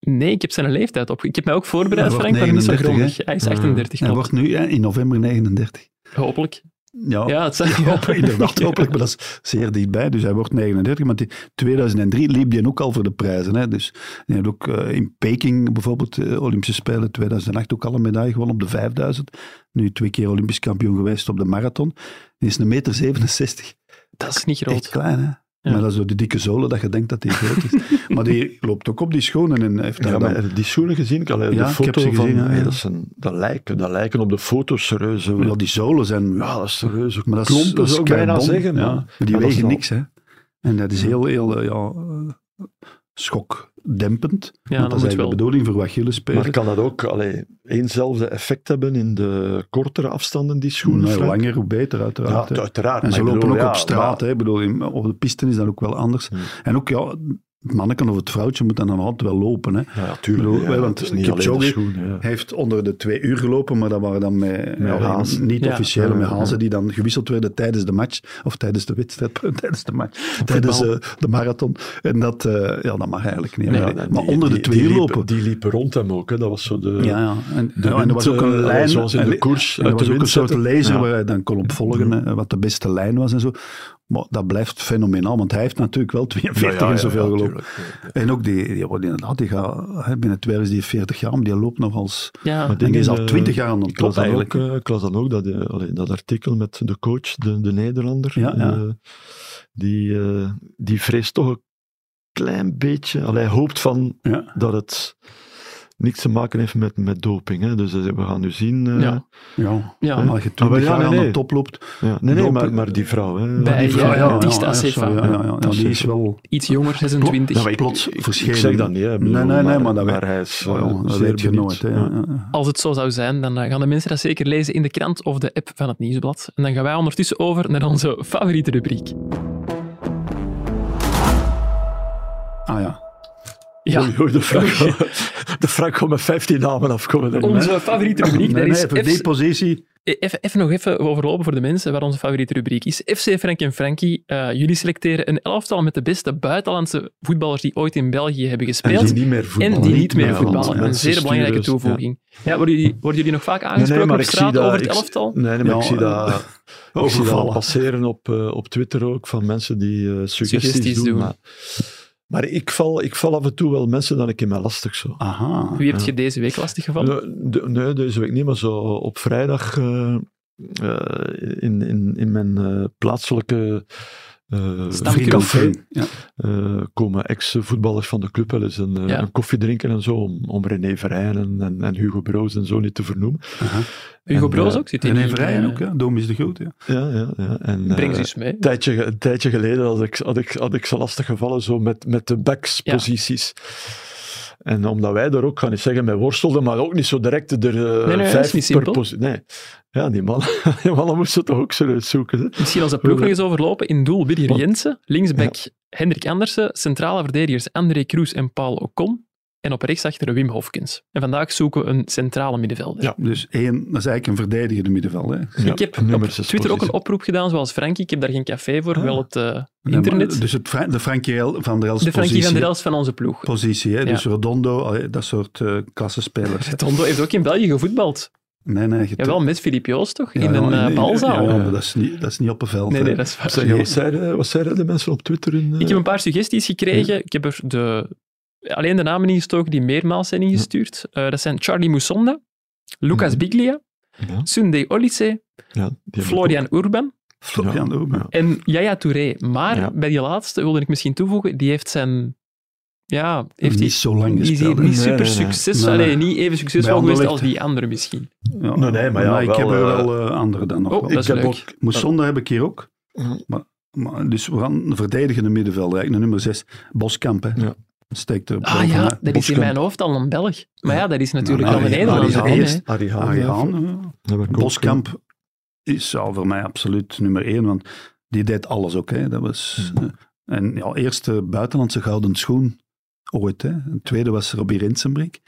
Nee, ik heb zijn leeftijd op. Ik heb mij ook voorbereid, Hij wordt Frank, maar niet zo 39, grondig. Hij is Ja. 38, Hij klopt. wordt nu hè, in november 39. Hopelijk. Ja, Ja, het zijn... hopelijk, Oh, inderdaad, hopelijk, maar dat is zeer dichtbij. Dus hij wordt 39, maar in 2003 liep hij ook al voor de prijzen. Hè. Dus hij heeft ook eh, in Peking bijvoorbeeld, eh, Olympische Spelen 2008, ook al een medaille gewonnen op de 5000. Nu twee keer Olympisch kampioen geweest op de marathon. Hij is een meter 67. Dat is niet Echt groot. klein, hè? Ja. Maar dat is door die dikke zolen dat je denkt dat die groot is. maar die loopt ook op die schoenen en heeft daar Ja, dan- maar heb je die schoenen gezien? Ik, allee, Ja, ik de heb foto ze van, gezien, ja, hey, ja. dat, zijn, dat, lijken, dat lijken op de foto's reuze. ja, die zolen zijn... Ja, dat is reuze maar dat is, klompen, dat is zou ik bijna carbon, zeggen. ja. maar- Maar maar die dat is wegen dan- niks, hè. En dat is heel, heel eh, ja, eh, schokdempend. Ja, dat want dat moet is eigenlijk wel. de bedoling voor wat Gilles speelt. Maar kan dat ook allee, éénzelfde effect hebben in de kortere afstanden, die schoenen? Nee, hoe Frank? langer, hoe beter, Ja, uiteraard. hè. uiteraard. En maar ze ik lopen bedoel, ook ja, op straat. maar- hè. Ik bedoel, in- op de piste is dat ook wel anders. Hmm. En ook, ja, het manneken of het vrouwtje moet dan altijd wel lopen. Hè. Ja, tuurlijk. Ik bedoel, ja, want het is niet alleen Kipchoge- de schoenen. ja. Hij heeft onder de twee uur gelopen, maar dat waren dan met, eh, Met hazen. niet Ja. officiële, Ja, met ja. hazen die dan gewisseld werden tijdens de match, of tijdens de wedstrijd, tijdens de match, tijdens voetbal. eh, de marathon. En dat, eh, ja, dat mag eigenlijk niet. Ja, maar die- maar die- onder de die- twee die uur liepen- lopen. Die liepen rond hem ook, hè. dat was zo de... ja, ja. En, de ja, en er was wind, ook een eh, lijn. zoals in en de li- koers en Er uit was de ook een wind soort zetten. laser Ja. Mhm. waar hij dan kon op volgen, eh, wat de beste lijn was en zo. Maar dat blijft fenomenaal, want hij heeft natuurlijk wel 42 Ja, ja, en ja, zoveel ja, gelopen. tuurlijk. En ook die, die, wordt inderdaad, die gaat, hè, binnen twee jaar is die 40 jaar, maar die loopt nog als... Ja, En die is al eh, 20 jaar aan de Ik las top dan eigenlijk. ook, eh, ik las dan ook dat, eh, allee, dat artikel met de coach, de, de Nederlander. Ja, ja. eh, die, eh, die vreest toch een klein beetje. Allee, hij hoopt van Ja. dat het niks te maken heeft met, met doping. Hè. Dus eh, we gaan nu zien. eh, Ja. Ja, ja. maar als je Ah, maar 20 ja, jaar nee, aan de nee. top loopt... ja. Nee, nee Doping. maar, maar die vrouw. Hè. Bij- die Ja, vrouw. ja, ja, die Tista Sefa. Ja, ja, ja, die is wel... iets jonger, 26. nou, Ja, maar ik- Plots ik, verschenen. ik zeg dat niet. Hè, Ik Nee, nee, nee, maar dat weet- hij is Ja, eh, ja, dat zeer weet je benieuwd. nooit. Hè, Ja. ja, ja, ja. Als het zo zou zijn, dan eh, gaan de mensen dat zeker lezen in de krant of de app van het Nieuwsblad. En dan gaan wij ondertussen over naar onze favoriete rubriek. Ah ja. Ja, Oei, oei, de Frank, de Frank kon met 15 namen afkomen. denk ik. onze favoriete rubriek. Nee, daar nee, is voor FC die positie... Even, even nog even overlopen voor de mensen waar onze favoriete rubriek is. FC Frank en Frankie, eh, jullie selecteren een elftal met de beste buitenlandse voetballers die ooit in België hebben En gespeeld. die niet meer voetballen. En die niet meer Ja, want voetballen. Een mensen zeer belangrijke sturen dus- toevoeging. Ja. worden, jullie, worden jullie nog vaak aangesproken op straat over het ik- elftal? Nee, nee, maar Ja, ik zie eh, dat, ik zie dat overvallen. passeren op, eh, op Twitter ook van mensen die eh, suggesties, Suggesties doen. doen. Maar, maar ik, val, ik val af en toe wel mensen dan een keer mij lastig zo. Aha. Wie hebt je deze week lastiggevallen? Nee, de- nee, deze week niet, maar zo op vrijdag eh, eh, in, in, in mijn eh, plaatselijke eh, Stamcafé. café Ja. eh, komen ex-voetballers van de club wel eens een, eh, Ja. een koffie drinken en zo, om, om René Verheyen en, en, en Hugo Broos en zo niet te vernoemen. Aha. Hugo en, Broos eh, ook? Zit hij En niet, Everijen eh, ook, ja. Doom is de groot, ja. Ja, ja, ja. En, Breng eh, ze eens mee. een tijdje, ge- een tijdje geleden had ik, had, ik, had ik ze lastig gevallen zo met, met de backsposities. En omdat wij er ook, gaan niet zeggen, met worstelden, maar ook niet zo direct er eh, nee, dat is vijf niet per simpel. positie. Nee, ja, die mannen, die mannen moesten toch ook serieus zoeken. Hè? Misschien als de ploeg nog eens overlopen. In doel Willy Want- Jensen, linksback Hendrik Andersen, centrale verdedigers André Kroes en Paul Ocon en op rechtsachter Wim Hofkens. En vandaag zoeken we een centrale middenvelder. Ja. Dus één, dat is eigenlijk een verdedigende middenveld, hè. Ja, ik heb nummer op zes Twitter ook positie. een oproep gedaan, zoals Frankie. Ik heb daar geen café voor, Ah. wel het eh, Ja, internet. maar Dus het, Fra- de Frankie El- van der Els de Frankie positie. van der Els van onze ploeg. Positie, hè. Ja. Dus Redondo, allee, dat soort eh klassenspelers. hè. Tondo heeft ook in België gevoetbald. Nee, nee. je- Jawel, met Filip Joos toch? Ja, in ja, een eh, balzaal. Ja, eh, maar dat is niet, dat is niet op een veld. nee, hè. nee, dat is waar. Zeg, wat, zeiden, wat zeiden de mensen op Twitter? In, eh, Ik heb een paar suggesties gekregen. Ik heb er de, alleen de namen ingestoken die meermaals zijn ingestuurd. Eh, dat zijn Charlie Moussonde, Lucas Mhm. Biglia, ja, Sunday Olise, ja, die heb ik Florian Urban Florian Ja. Oben. Ja. en Yaya Touré. Maar Ja. bij die laatste wilde ik misschien toevoegen, die heeft zijn... Ja, heeft niet die, zo lang die is niet gespeeld. hè. Nee, nee, super nee. succesvol, Nee, nee. allee, niet even Bij succesvol geweest Anderlecht. als die andere misschien. Ja. Nee, nee, maar ja, ik wel, heb er eh, wel eh, andere dan nog. Oh, wel. dat is heb leuk. Oh. Mhm. ook- Moussonde heb ik hier ook. Ja. Maar, maar, dus we gaan een verdedigende middenvelder, eigenlijk de nummer 6. Boskamp, hè. Ja. Steekt er Ah bovenuit. ja, dat is in Boskamp. mijn hoofd al een Belg. Maar ja, dat is natuurlijk Nou, al een Arie- Nederlander. Arie hè. Haans. Arie Haan, Arie ja. Haan, Ah, ja. Ja, maar ik ook, Boskamp is, zou voor mij absoluut nummer één, want die deed alles ook. Hè. Dat was, Mhm. eh, en ja, eerste buitenlandse gouden schoen ooit. Hè. Een tweede was Robbie Rinsenbrink,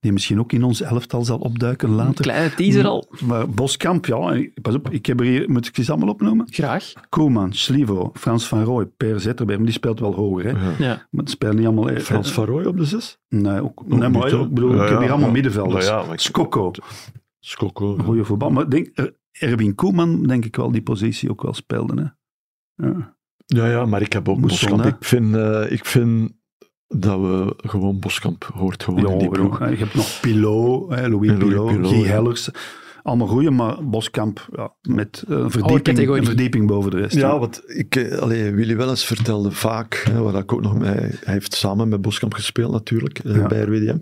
die misschien ook in ons elftal zal opduiken Mhm, Een later. kleine teaser al. Maar Boskamp, ja, en pas op, ik heb er hier, moet ik ze allemaal opnoemen? Graag. Koeman, Slivo, Frans van Rooij, Per Zetterberg, maar die speelt wel hoger. Hè. hè. Ja. Ja. Maar het speelt niet allemaal... eh, Frans eh, Van Rooij op de zes? Nee, ook, nee, maar niet, hè? ik bedoel, Ja, ik heb ja, hier allemaal ja. middenvelders. Nou ja, maar ik- Skokko. Skoko. Een ja. goede voetbal. Maar ik denk, er- Erwin Koeman, denk ik wel, die positie ook wel speelde. Hè? Ja. Ja, ja, maar ik heb ook Moest Boskamp. dan, hè? Ik vind, eh, ik vind dat we gewoon Boskamp hoort gewoon in die ploeg. Je hebt nog Pilot, hè, Louis En Louis Pilot, Pilot, Guy ja. Hellers. Allemaal goeie, maar Boskamp ja, met eh, een verdieping, categorie. een verdieping boven de rest. Ja, want ik, eh, allee, Willy Wellens vertelde vaak, hè, wat ik ook nog mee, hij heeft samen met Boskamp gespeeld natuurlijk, eh, Ja. bij RWDM.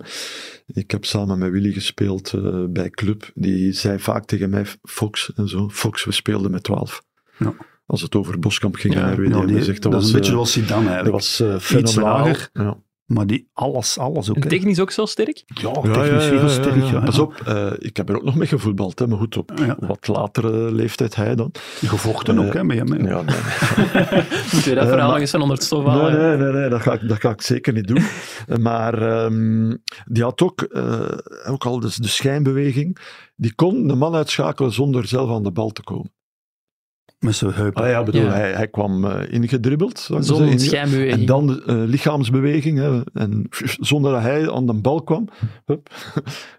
Ik heb samen met Willy gespeeld eh, bij Club. Die zei vaak tegen mij, Fox en zo, Fox, we speelden met 12. Ja. Als het over Boskamp ging Ja, en RWDM, Nou, die- hij zegt, dat is een was, beetje eh, zoals Zidane eigenlijk. dat was eh, fenomenaal. lager. Ja. Maar die alles, alles ook. En hè. technisch ook zo sterk? Ja, technisch heel sterk. Ja, Pas op, eh, ik heb er ook nog mee gevoetbald, hè, maar goed, op Ja. wat latere leeftijd hij dan. Gevochten ook, hè, met hem. hè. Ja, nee. Moeten we dat Eh, verhaal maar- nog eens van onder het stof halen? Nee, nee, nee, nee, dat, ga ik, dat ga ik zeker niet doen. Maar ehm, die had ook, eh, ook al dus de schijnbeweging, die kon de man uitschakelen zonder zelf aan de bal te komen. Met zijn heupen. Ah ja, bedoel, Ja. Hij, hij kwam eh, ingedribbeld. zou ik maar Zonder zeggen. schijnbeweging. En dan de eh, lichaamsbeweging, hè, en zonder dat hij aan de bal kwam, hup,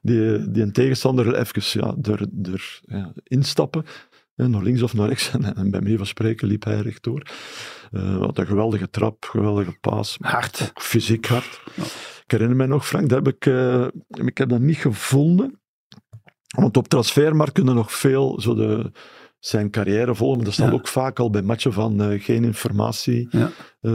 die, die een tegenstander even ja, er, er, ja, instappen, hè, naar links of naar rechts. En, en bij mij van spreken liep hij rechtdoor. Eh wat een geweldige trap, geweldige paas. Hard. Ook fysiek hard. Ik herinner mij nog, Frank, dat heb ik, eh, ik heb dat niet gevonden. Want op transfermarkt kunnen nog veel zo de, zijn carrière volgen. Dat staat Ja. ook vaak al bij matchen van eh, geen informatie. Ja. Eh,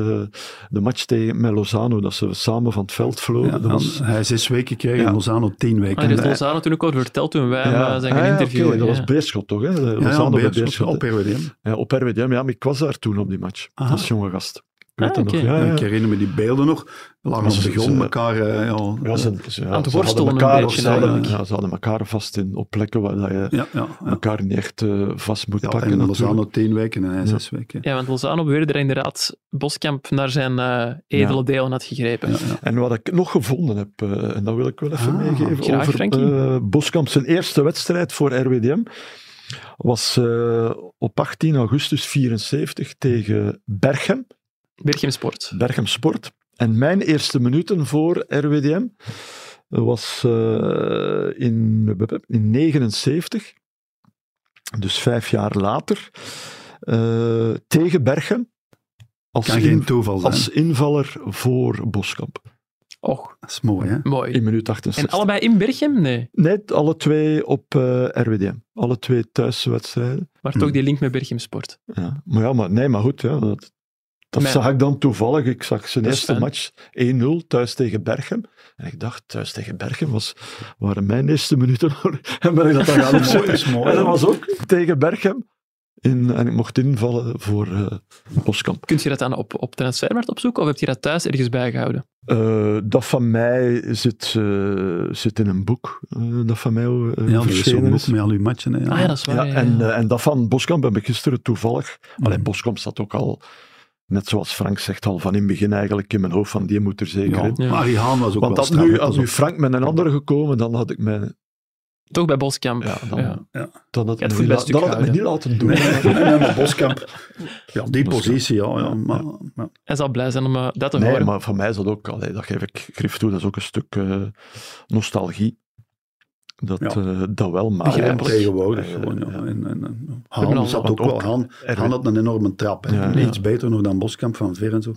de match tegen met Lozano, dat ze samen van het veld vlogen. Ja, oh, dat was, Hij is zes weken gekregen, Ja. Lozano tien weken. Ah, dat En- heeft Lozano toen ook al verteld toen wij hem eh, zijn Ah gaan ja, interviewen. oké, dat ja. was Beerschot toch? Hè? Lozano ja, bij Beerschot, Beerschot. op RWDM. Ja, op RWDM, ja, maar ik was daar toen op die match. Aha. Als jonge gast. Ik weet Ah, dat nog. oké. Ja, ja, ja. Ik herinner me die beelden nog. Lang Maar op ze- de grond, ze- elkaar... eh, ja, Aan Ja, ze, ze, ja, het ze hadden worstelen een elkaar, beetje, ze, hadden, eigenlijk. ja, ze hadden elkaar vast in, op plekken waar dat je ja, ja, ja. elkaar niet echt eh, vast moet Ja, pakken. en natuurlijk. Lozano tien weken en hij Ja. zes weken. Ja, want Lozano beweerde er inderdaad Boskamp naar zijn eh, edele Ja. delen had gegrepen. Ja, ja. En wat ik nog gevonden heb, eh, en dat wil ik wel even Ah, meegeven, graag, over Frankie. eh, Boskamp. Zijn eerste wedstrijd voor RWDM was eh, op 18 augustus 74 tegen Berchem, Berchem Sport. Berchem Sport. En mijn eerste minuten voor RWDM was eh, in, in 79, dus vijf jaar later, eh, tegen Berchem. Als, Kan in- geen toeval zijn. als invaller voor Boskamp. Och, Dat is mooi, hè? mooi. In minuut 68. En allebei in Berchem? Nee. Nee, alle twee op eh, RWDM. Alle twee thuiswedstrijden. Maar toch die link met Berchem Sport. Ja. Maar ja, maar, nee, maar goed. Ja, dat dat Maar- zag ik dan toevallig. Ik zag zijn Dus Dat is eerste fijn. match 1-0 thuis tegen Berchem. En ik dacht, thuis tegen Berchem was, waren mijn eerste minuten. en ben ik dat dan gaan Dat is mooi, opzoeken. dat is mooi. En dat was ook tegen Berchem. In, en ik mocht invallen voor eh Boskamp. Kunt je dat dan op, op transfermarkt opzoeken of heb je dat thuis ergens bijgehouden? Eh, dat van mij zit, eh, zit in een boek. eh, dat van mij eh, Ja, dat is zo'n verschenen boek is. met al uw matchen. Hè, Ah ja, dat is waar. Ja, ja, en, ja. eh, en dat van Boskamp heb ik gisteren toevallig. Mm. Alleen Boskamp zat ook al, net zoals Frank zegt, al van in het begin eigenlijk in mijn hoofd van die moet er zeker Ja. in. Ja. Maar Arie Haan was ook Want had wel straf. nu, hè, had pas nu op. Frank met een andere gekomen, dan had ik mij. Toch bij Boskamp. Ja, dan, Ja. dan had ik het voor me niet het la- beste dan had ik me gehouden. niet laten doen. Nee, nee, maar Boskamp. Ja, die Boskamp. positie, ja. ja, maar, maar- Hij zal blij zijn om eh, dat te Nee, horen. maar voor mij is dat ook, allee, dat geef ik grif toe, dat is ook een stuk eh, nostalgie. Dat, Ja. eh, dat wel, maar... gewoon Begrijpelijk. tegenwoordig. Eh, gewoon, ja. ja. En, en, en, hebben Haan al- zat want ook wel. ook Haan, er- Haan had een enorme trap. Hè. Ja, Iets ja. beter nog dan Boskamp van Ver en zo.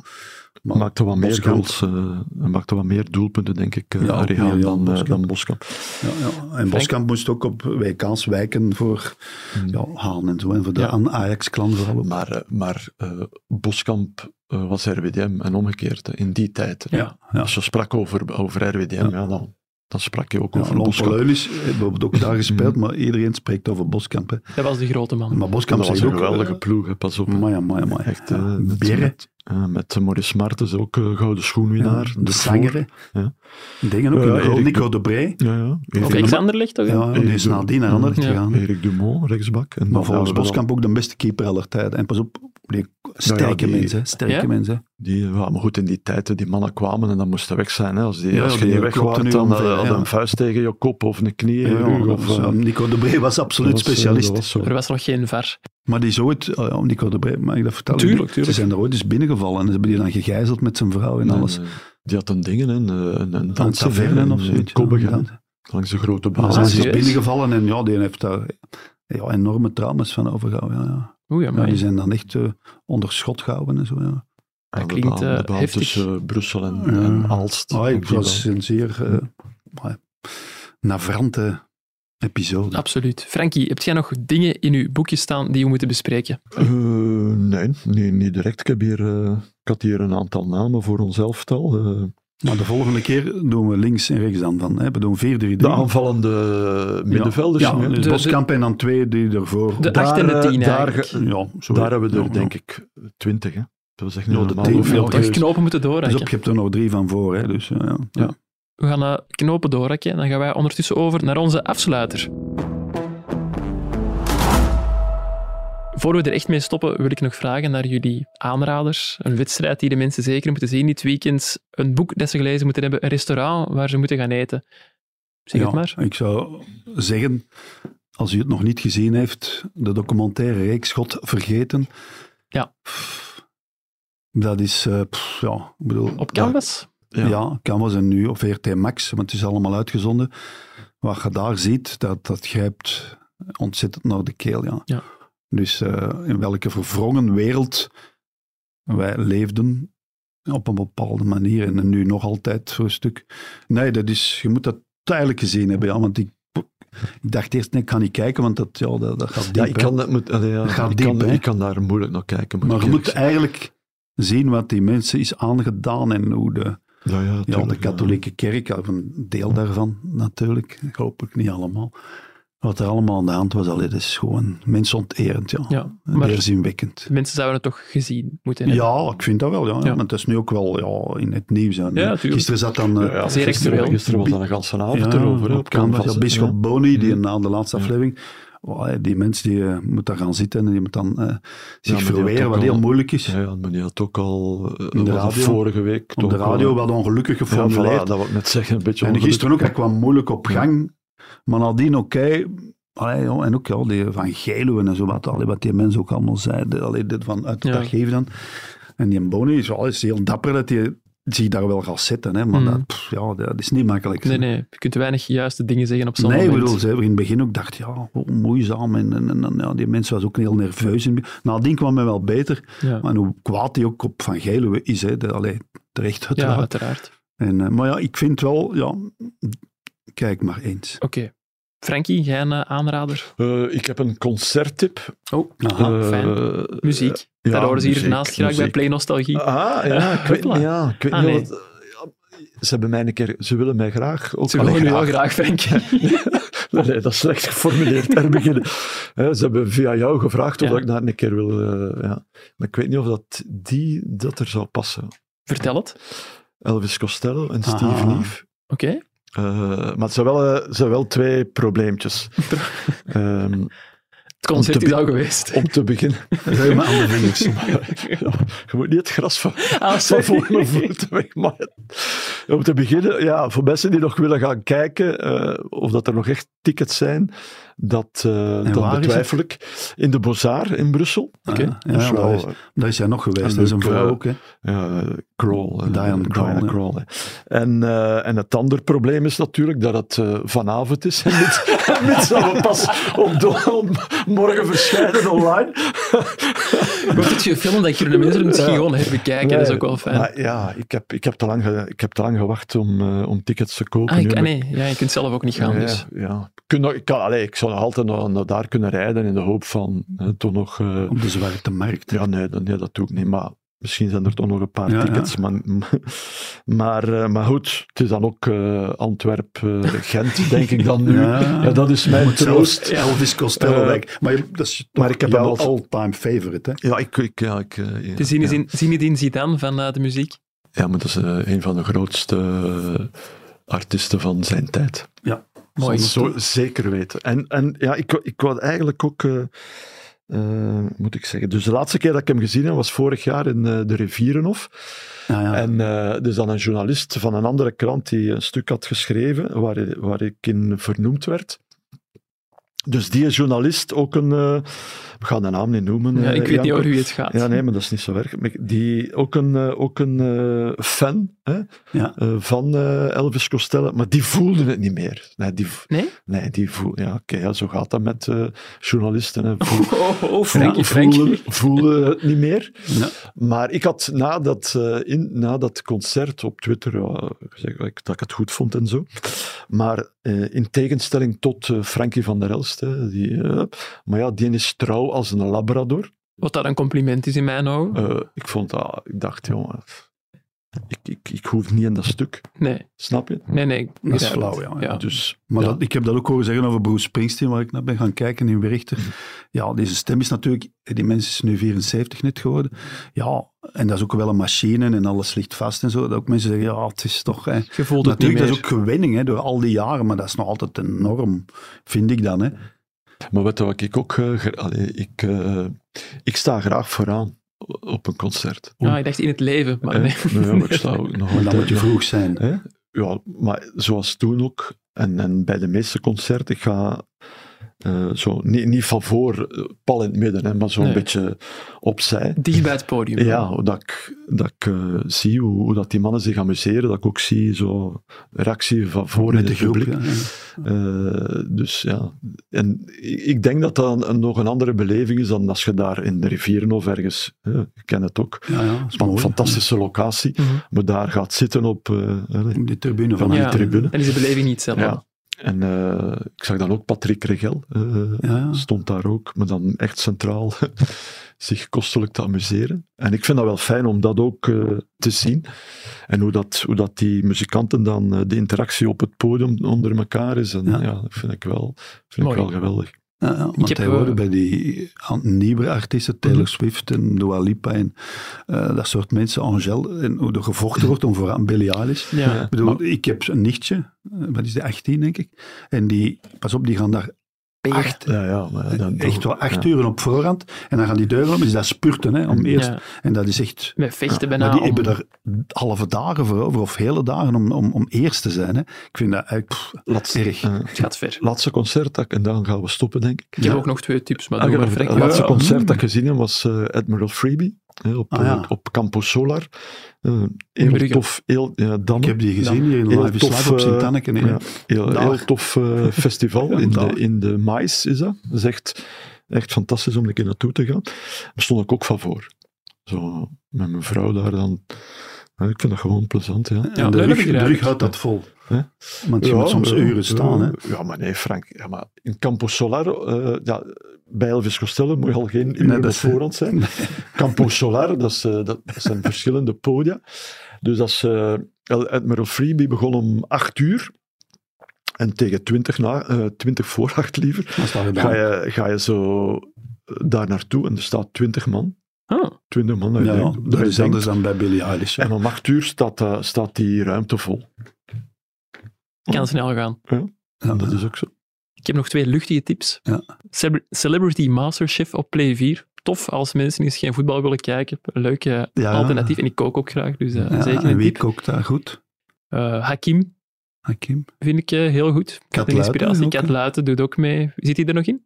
Maar, maakte wat, meer Boskamp. goals, eh, maakte wat meer doelpunten, denk ik, eh Ja, Arie ja, Haan ja, dan, eh, Boskamp. dan Boskamp. ja, ja. En Boskamp moest ook op WK's wijken voor Hmm. ja, Haan en zo. En voor de Ja. aan Ajax-klan vooral ook. Maar, eh, maar eh, Boskamp eh, was RWDM en omgekeerd hè, in die tijd. hè. Ja, ja. Als je sprak over, over RWDM, ja. dan, dan sprak je ook Ja, over Lon Boskamp. Hmm. Poleulis, we hebben ook daar gespeeld, maar iedereen spreekt over Boskamp. hè. Dat was de grote man. Maar En Boskamp dat was zegt een ook, geweldige eh, ploeg, hè, pas op. hè. Maja, maja, maja. Echt, eh, met, Berre, met, eh, met Maurice Martens, ook eh, gouden schoenwinnaar. de ervoor. zanger. Ja. Dingen ook. Ja, een Erik goal, Du- Nico de Brey. Ja, ja. of Erik, Alexander ligt toch? hè? Ja, die is Erik- Hmm, nadien naar Anderlecht Ja. gegaan. Erik Dumont, rechtsbak. En Maar dan volgens hebben we dan- Boskamp ook de beste keeper aller tijden. En pas op, die sterke die- mensen. hè, Sterke Ja? mensen. Die, ja, maar goed, in die tijd, hè, die mannen kwamen en dan moesten weg zijn. Hè. Als, die, Ja, als je die niet weg klopten was, nu dan ongeveer, eh, hadden ja. een vuist tegen je kop of een knie. je Ja, rug, of, dus, eh, eh, Nico de Brey was absoluut dat was, eh, specialist. dat was zo. Er was nog geen ver. Maar die is ooit, oh ja, Nico de Brey, mag ik dat vertellen? Tuurlijk, Die- tuurlijk. Ze zijn er ooit eens binnengevallen en ze hebben die dan gegijzeld met zijn vrouw en alles. En, eh, die had een dingen, hè, een, een, een Ah, Aan dansen, tavernen of zoiets. Kobbig, Ja, hè, langs de grote Maar baas. ze is serieus? binnengevallen en ja, die heeft daar ja, enorme trauma's van overgehouden. Ja, ja. Oei, Ja, amai. die zijn dan echt eh, onder schot gehouden en zo. Ja. Aan de klinkt, baan, eh, de baan heftig. tussen eh, Brussel en, Ja. en Aalst. Ah, Op ik die was baan. een zeer eh, maar ja, navrante episode. Absoluut. Frankie, hebt jij nog dingen in uw boekje staan die we moeten bespreken? Eh, nee, nee, niet direct. Ik, heb hier, eh, ik had hier een aantal namen voor ons elftal. Eh, Maar de volgende keer doen we links en rechts dan van. Hè. We doen 4-3-3. de aanvallende middenvelders. Ja, hè. dus de- Boskamp en dan twee die ervoor. De Daar, acht en de eh, tien daar eigenlijk. ge- ja, zo. Daar hebben we er, Ja, denk ik, twintig. Hè. Dat was echt niet Ja, de normaal. tien, hoeveel veel Hoeveel er toch is. knopen moeten Dus op, je doorhakken? hebt er nog drie van voor. Hè. Dus, ja, ja. Ja. We gaan eh, knopen doorhakken en dan gaan wij ondertussen over naar onze afsluiter. Voor we er echt mee stoppen, wil ik nog vragen naar jullie aanraders. Een wedstrijd die de mensen zeker moeten zien dit weekend. Een boek dat ze gelezen moeten hebben. Een restaurant waar ze moeten gaan eten. Zeg het Ja, maar. Ik zou zeggen, als u het nog niet gezien heeft, de documentaire Reeks God Vergeten. Ja. Pff, Dat is, eh, pff, ja, ik bedoel... Op Canvas? Ja, Ja. Canvas en nu op VRT Max, want het is allemaal uitgezonden. Wat je daar ziet, dat, dat grijpt ontzettend naar de keel, ja. Ja. Dus eh, in welke verwrongen wereld wij leefden, op een bepaalde manier en nu nog altijd voor een stuk. Nee, dat is, je moet dat tijdelijk gezien hebben, ja, want ik, ik dacht eerst, nee, ik ga niet kijken, want dat, ja, dat, dat gaat diep. Ja, ik hè. kan, dat moet, allee, ja, Dat gaat ik, diep, kan, hè. ik kan daar moeilijk naar kijken. moet maar ik je eerlijk moet eigenlijk zien wat die mensen is aangedaan en hoe de... zeggen. ja, Hm. ja, Ja, tuurlijk, de katholieke kerk, of een deel daarvan natuurlijk, hopelijk niet allemaal. Wat er allemaal aan de hand was, allee, dat is gewoon mensonterend, ja. Ja, En maar Weerzinwekkend. de mensen zouden het toch gezien moeten hebben. Ja, ik vind dat wel, ja. Ja. Want dat is nu ook wel ja, in het nieuws. Hè. tuurlijk. Gisteren zat dan... eh, Ja, ja, Zeer actueel. gisteren, gisteren was dat een ganse avond erover. hè, op Canvas. Ja, Canvas. Bisschop Ja. Boni, die na de laatste aflevering. oh, hey, die mens die eh, moet daar gaan zitten en die moet dan eh, zich maar die had verweren, ook wat al- heel moeilijk is. Ja, ja, maar die had ook al eh, de was dat radio. vorige week. Op de toch al- radio wat ongelukkig Ja, voilà, geformuleerd. dat wil ik net zeggen. Een beetje En ongelukkig. gisteren ook, hij kwam moeilijk op gang. Maar nadien oké. Allee, ja, en ook ja, die van Geluwen en zo wat, allee, wat die mensen ook allemaal zeiden. Allee, dit van uit Ja. het archief dan. En die Boni is, wel- is heel dapper dat hij zich daar wel gaat zetten. Hè, maar Mm. dat, pff, ja, dat is niet makkelijk. Nee, nee. Je kunt weinig juiste dingen zeggen op zo'n Nee, ik moment. bedoel, ze hebben in het begin ook gedacht, ja, hoe moeizaam. En, en, en, en, ja, die mensen was ook heel nerveus. in het begin. Nadien kwam hij wel beter. Ja. Maar hoe kwaad hij ook op Van Geluwe is, hè, dat, allee, terecht ja, uiteraard. uiteraard. En, eh, maar ja, ik vind wel, ja, kijk maar eens. Oké. Frankie, jij een eh, aanrader? Eh, ik heb een concerttip. Oh, Aha. Eh, fijn. Muziek. ja, Daar horen ze hier muziek, naast graag bij muziek. Play Nostalgie. Ah, ja, ik weet, Hopla. ja, ik weet Ah, niet nee. wat- ja, Ze hebben mij een keer... Ze willen mij graag... Ook, Ze willen Allee, nu wel graag, Frankie. Nee, nee, dat is slecht geformuleerd. Er beginnen. Hè, ze hebben via jou gevraagd of Ja. dat ik daar een keer wil. eh, ja. Maar ik weet niet of dat die dat er zou passen. Vertel het. Elvis Costello en Steve Aha. Neef. Oké. Eh, maar het zijn wel, eh, het zijn wel twee probleempjes. Ehm, Het concert Om te is be- al geweest. om te beginnen. Ruim aan de vingers. Ja, je moet niet het gras van, Ah, van sorry. voor mijn voeten wegmaaien. Om te beginnen, ja, voor mensen die nog willen gaan kijken eh, of dat er nog echt tickets zijn, dat, eh, dat waar is betwijfel ik. In de Bozar in Brussel. Oké. Ja, Dat is ja, daar, wel, is, daar is hij nog geweest. een Dat is een leuk, vrouw eh, ook. Hè. eh, Kroll. eh, Diane Kroll, hè. Kroll, hè. En, eh, en het andere probleem is natuurlijk dat het eh, vanavond is. En dit, en dit zal we pas op do- om morgen verschijnen online. Wordt het gefilmd dat je de mensen misschien Ja. gewoon even kijken? dat is ook wel fijn. Maar ja, ik heb, ik heb, te, lang ge- ik heb te lang gewacht om, eh, om tickets te kopen. Ah, Nu ik, ah, heb ik- nee, ja, je kunt zelf ook niet gaan. Ja, Dus. ja. Ik, kun nog- ik, kan, allee, ik zou nog altijd nog, nog daar kunnen rijden in de hoop van eh, toch nog... eh, Op de zwarte markt. Ja, nee, dan, nee, dat doe ik niet. Maar misschien zijn er toch nog een paar Ja, tickets. Maar, maar, eh, maar goed, het is dan ook eh Antwerp-Gent, denk ik dan nu. Ja. dat is mijn Moet zelfs troost. Elvis Costello Eh, weg. Maar je- dat is maar ik heb jouw hem al- all-time favorite. Hè. Ja, ik... ik, ja, ik eh, ja, De zin is ja. in Zinedine Zidane van eh, de muziek. Ja, maar dat is eh, een van de grootste eh, artiesten van zijn tijd. Oh, Mooi. Zo, zeker weten. En, en ja, ik, wou- ik wou eigenlijk ook... eh, eh, moet ik zeggen. Dus de laatste keer dat ik hem gezien heb was vorig jaar in eh, de Rivierenhof. Ja, ja. Oh, En eh dus dan een journalist van een andere krant die een stuk had geschreven waar, waar ik in vernoemd werd. Dus die journalist, ook een... eh, we gaan de naam niet noemen. Ja, eh, ik weet niet Janko. over wie het gaat. Ja, nee, maar dat is niet zo erg. Maar Die, ook een, eh, ook een eh, fan hè, Ja. eh, van eh, Elvis Costello, maar die voelden het niet meer. Nee, die, v- Nee? nee, die voelden... Ja, oké, ja, zo gaat dat met eh, journalisten. Hè, voel- Oh, oh, oh, Frankie, ja, Frankie. voelen, voelen het niet meer. Ja. Maar ik had na dat, eh, in, na dat concert op Twitter ja, gezegd dat ik- dat ik het goed vond en zo. Maar eh, in tegenstelling tot eh, Frankie van der Elst, hè, die, eh, maar ja, die is trouw als een labrador. Wat dat een compliment is in mijn ogen. Eh, ik vond dat, ik dacht, jongen, ik, ik, ik hoef niet in dat stuk, Nee, snap je? nee, nee. ik Dat is begrijp flauw, het. ja. Ja. Dus, Maar ja. dat, ik heb dat ook horen zeggen over Bruce Springsteen, waar ik naar ben gaan kijken in Berichten. Ja, deze stem is natuurlijk... Die mens is nu 74 net geworden. Ja, en dat is ook wel een machine en alles ligt vast en zo. Dat ook mensen zeggen, ja, het is toch... Hè. Je voelt het Natuurlijk, niet dat meer. is ook gewenning hè, door al die jaren, maar dat is nog altijd een norm, vind ik dan. Hè. Maar weet je wat ik ook... eh, gra- allee, ik, eh, ik sta graag vooraan op een concert. Ah, ik dacht in het leven, maar Eh, nee. nee, maar ik sta ook nog Maar dan altijd- moet je vroeg zijn. Hè? Ja, maar zoals toen ook, en, en bij de meeste concerten, ik ga eh, zo, niet, niet van voor, eh, pal in het midden, hè, maar zo'n Nee. beetje opzij. Dicht bij het podium. Ja, dat ik, dat ik eh, zie hoe, hoe dat die mannen zich amuseren, dat ik ook zie zo reactie van voor in Met de het groep. publiek. Ja. Eh, dus ja, en ik ik denk dat dat een- nog een andere beleving is dan als je daar in de rivieren of ergens, hè, je kent het ook, Ja, ja, dat is van mooi. fantastische locatie, Mhm. maar daar gaat zitten op eh, allee, Op die tribune van van die Ja. tribune. En is de beleving niet zelf. Ja. En eh, ik zag dan ook Patrick Regel, eh, Ja, ja. stond daar ook, maar dan echt centraal zich kostelijk te amuseren. En ik vind dat wel fijn om dat ook eh, te zien. En hoe dat, hoe dat die muzikanten dan, eh, de interactie op het podium onder elkaar is. En Ja. ja, dat vind ik wel, vind ik Mooi. wel geweldig. Ja, ja, want heb, hij eh, hoorde bij die aan- nieuwe artiesten, Taylor Swift en Dua Lipa en eh, dat soort mensen, Angel, en hoe er gevochten wordt om vooraan Billie Eilish. Ja. Ik bedoel, ik heb een nichtje, eh, wat is die, 18 denk ik, en die, pas op, die gaan daar acht, Ja, ja, maar ja, dan- echt wel acht ja. uren op voorhand en dan gaan die deuren om, is dat spurten, hè, om eerst, Ja. en dat is echt... Met vechten bijna. Maar die om- hebben er halve dagen voor over, of hele dagen, om, om, om eerst te zijn. Hè. Ik vind dat eigenlijk pff, Laatste, erg. eh, Het gaat ver. laatste concert, dat ik- en dan gaan we stoppen denk ik. Ik heb ook nog twee tips, maar Ah, doe maar ik heb Frankie. het laatste Ja. concert dat ik gezien heb was eh, Admiral Freebie hè, op, Ah, ja. eh, op Campo Solar. Eh, heel Brugge. tof, heel, ja, Damme. ik heb die gezien hier in Heel Live is tof, Live op eh, Sint-Anneke. nee. ja, heel, Daar. heel tof eh, festival Ja, in, de, daar. in de mais is dat. Dat is echt, echt fantastisch om een keer naartoe te gaan. Daar stond ik ook van voor. Zo, met mijn vrouw daar dan. Ja, ik vind dat gewoon plezant, ja. Ja, En de dat rug, heb ik de rug eigenlijk. houdt dat vol. Hè? Want je Ja, moet soms ja, uren staan. ja. Hè? Ja, maar nee, Frank. Ja, maar in Campo Solar, eh, ja, bij Elvis Costello moet je al geen uren dat op is- voorhand zijn. Campo Solar, dat, is, eh, dat, dat zijn verschillende podia. Dus als eh El- Admiral Freebie begon om 8 uur. En tegen 20, na, eh, 20 voor 8 liever, Dat is daar ga gedaan. je, ga je zo eh, daar naartoe en er staat 20 man. Ah, 20 man, dat je Ja, denkt- dat dat je is denkt. anders dan bij Billy Eilish. hè. En om 8 uur staat, eh, staat die ruimte vol. kan snel gaan. Ja, En dat is ook zo. Ik heb nog twee luchtige tips. Ja. Celebr- Celebrity Masterchef op Play 4. Tof als mensen eens geen voetbal willen kijken. Een Leuk eh, Ja. alternatief. En ik kook ook graag, dus eh, ja, zeker en een wie tip. kookt daar goed? Ah, Eh, Hakim Hakim? vind ik eh, heel goed. Kat een Luiten inspiratie. ook, Kat hè? Luiten doet ook mee. Zit hij er nog in?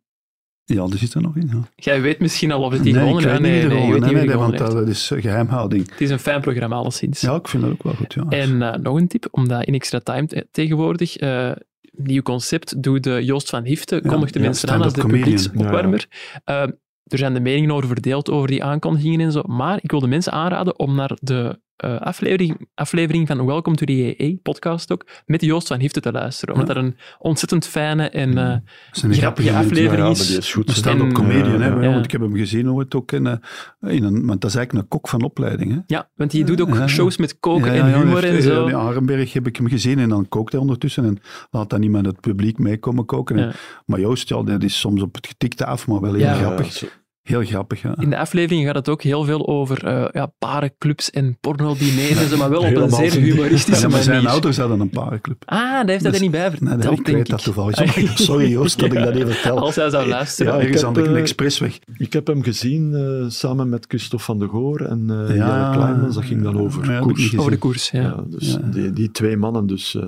Ja, die zit er nog in. Ja. Jij weet misschien al of het Dus die ik gewonnen weet heeft. niet Nee, wie er nee, je gewonnen- weet niet nee, wie er nee, want gewonnen heeft. dat is eh, geheimhouding. Het is een fijn programma, alleszins. Ja, ik vind dat ook wel goed. Ja. En eh, nog een tip, omdat in extra time te- tegenwoordig eh nieuw concept doet eh, Joost van Hifte, kondigt de ja, mensen aan als de stand-up comedian. publieksopwarmer. Eh, er zijn de meningen over verdeeld over die aankondigingen en zo, maar ik wil de mensen aanraden om naar de eh, aflevering, aflevering van Welcome to the EE podcast ook met Joost van Hifte te luisteren, omdat dat een ontzettend fijne en eh, Dat is een grappige grappige aflevering Ja, ja, maar is. die is goed. Een hè. stand-up En- comedian, hè, Ja, eh, ja. want ik heb hem gezien ooit ook in, eh, in een, want dat is eigenlijk een kok van opleiding. Hè. Ja, want die doet ook Ja, ja. shows met Ja, koken ja, en ja, humor heeft- eh, en zo. In Arenberg heb ik hem gezien en dan kookt hij ondertussen en laat dan iemand het publiek meekomen koken. En- Ja. Maar Joost, ja, dat is soms op het getikte af, maar wel heel Ja. grappig. zo- Heel grappig, ja. In de aflevering gaat het ook heel veel over eh ja, parenclubs en porno-diners en zo, maar wel op een Helemaal zeer zijn die- humoristische Ja, maar manier. zijn ouders hadden een parenclub. Ah, daar heeft hij er Dus- niet bij verteld, Nee, dat, ik denk Ah, weet dat toevallig. Sorry, sorry, Joost, dat ik dat even vertel. Als hij zou luisteren. Ja, Ja, ik ergens heb, aan de eh, expressweg. Ik heb hem gezien eh, samen met Christophe van de Goor en eh Jelle Kleimans. Dat ging dan over Ja, heb ik koers. niet gezien. Over de koers, ja. Ja, dus Ja. Die, die twee mannen, dus eh,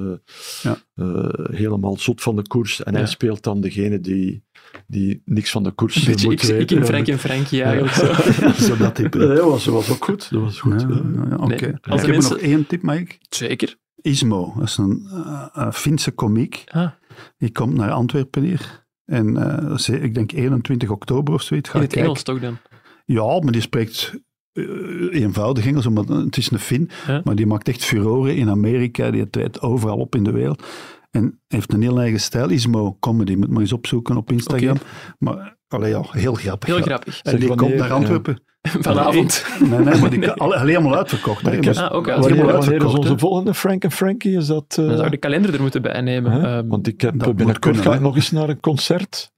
Ja. eh, helemaal zot van de koers. En Ja. hij speelt dan degene die die niks van de dus koers Beetje ik, moeten weten. ik in Frank en Frankie eigenlijk. Zo. Zodat die... Ja, dat was, dat was ook goed. Dat was goed. Ja, ja. ja, oké. eh, Nee, Ik als heb de mensen- nog één tip, Mike. Zeker. Ismo, dat is een eh, eh, Finse komiek. Ah, Die komt naar Antwerpen hier. En eh, ze- ik denk 21 oktober of zoiets. Ga in ik het kijken. Engels toch dan. Ja, maar die spreekt eh, eenvoudig Engels, omdat het is een Fin. Ja. Maar die maakt echt furoren in Amerika. Die treedt overal op in de wereld. En heeft een heel eigen stijl. Ismo Comedy, moet maar eens opzoeken op Instagram. Maar allee, ja, heel grappig. Heel ja. grappig. En die Zeg, komt wanneer- naar Antwerpen. Vanavond. Nee, nee, maar die kan alle- alleen helemaal uitverkocht. hè. Maar ik heb- Dus- Ah, ook uit. Wanneer, helemaal wanneer is uitverkocht, onze hè? volgende Frank en Frankie? Is dat... eh, Dan zou je de kalender er moeten bijnemen. hè? Ehm, Want ik heb dat moet binnenkort kunnen, ga ik hè? nog eens naar een concert.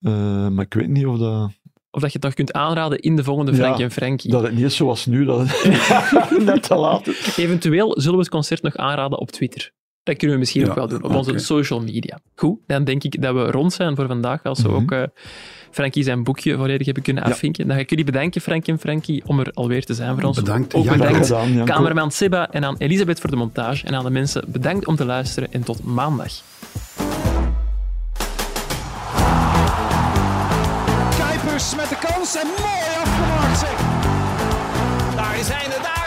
Eh, maar ik weet niet of dat... of dat je het nog kunt aanraden in de volgende Ja, Frankie en Frankie. Dat het niet is zoals nu, dat net te laat is. Eventueel zullen we het concert nog aanraden op Twitter. Dat kunnen we misschien Ja, ook wel doen, op oké. onze social media. Goed, dan denk ik dat we rond zijn voor vandaag. Als we Mhm. ook eh, Frankie zijn boekje volledig hebben kunnen afvinken. Dan ga ik jullie bedanken, Frankie en Frankie, om er alweer te zijn voor ons. Bedankt. Ook Janko. Oh, bedankt, Gedaan, Janko. cameraman Seba en aan Elisabeth voor de montage. En aan de mensen bedankt om te luisteren en tot maandag. Kuipers met de kans en mooi afgemaakt zeg. Daar zijn de, daar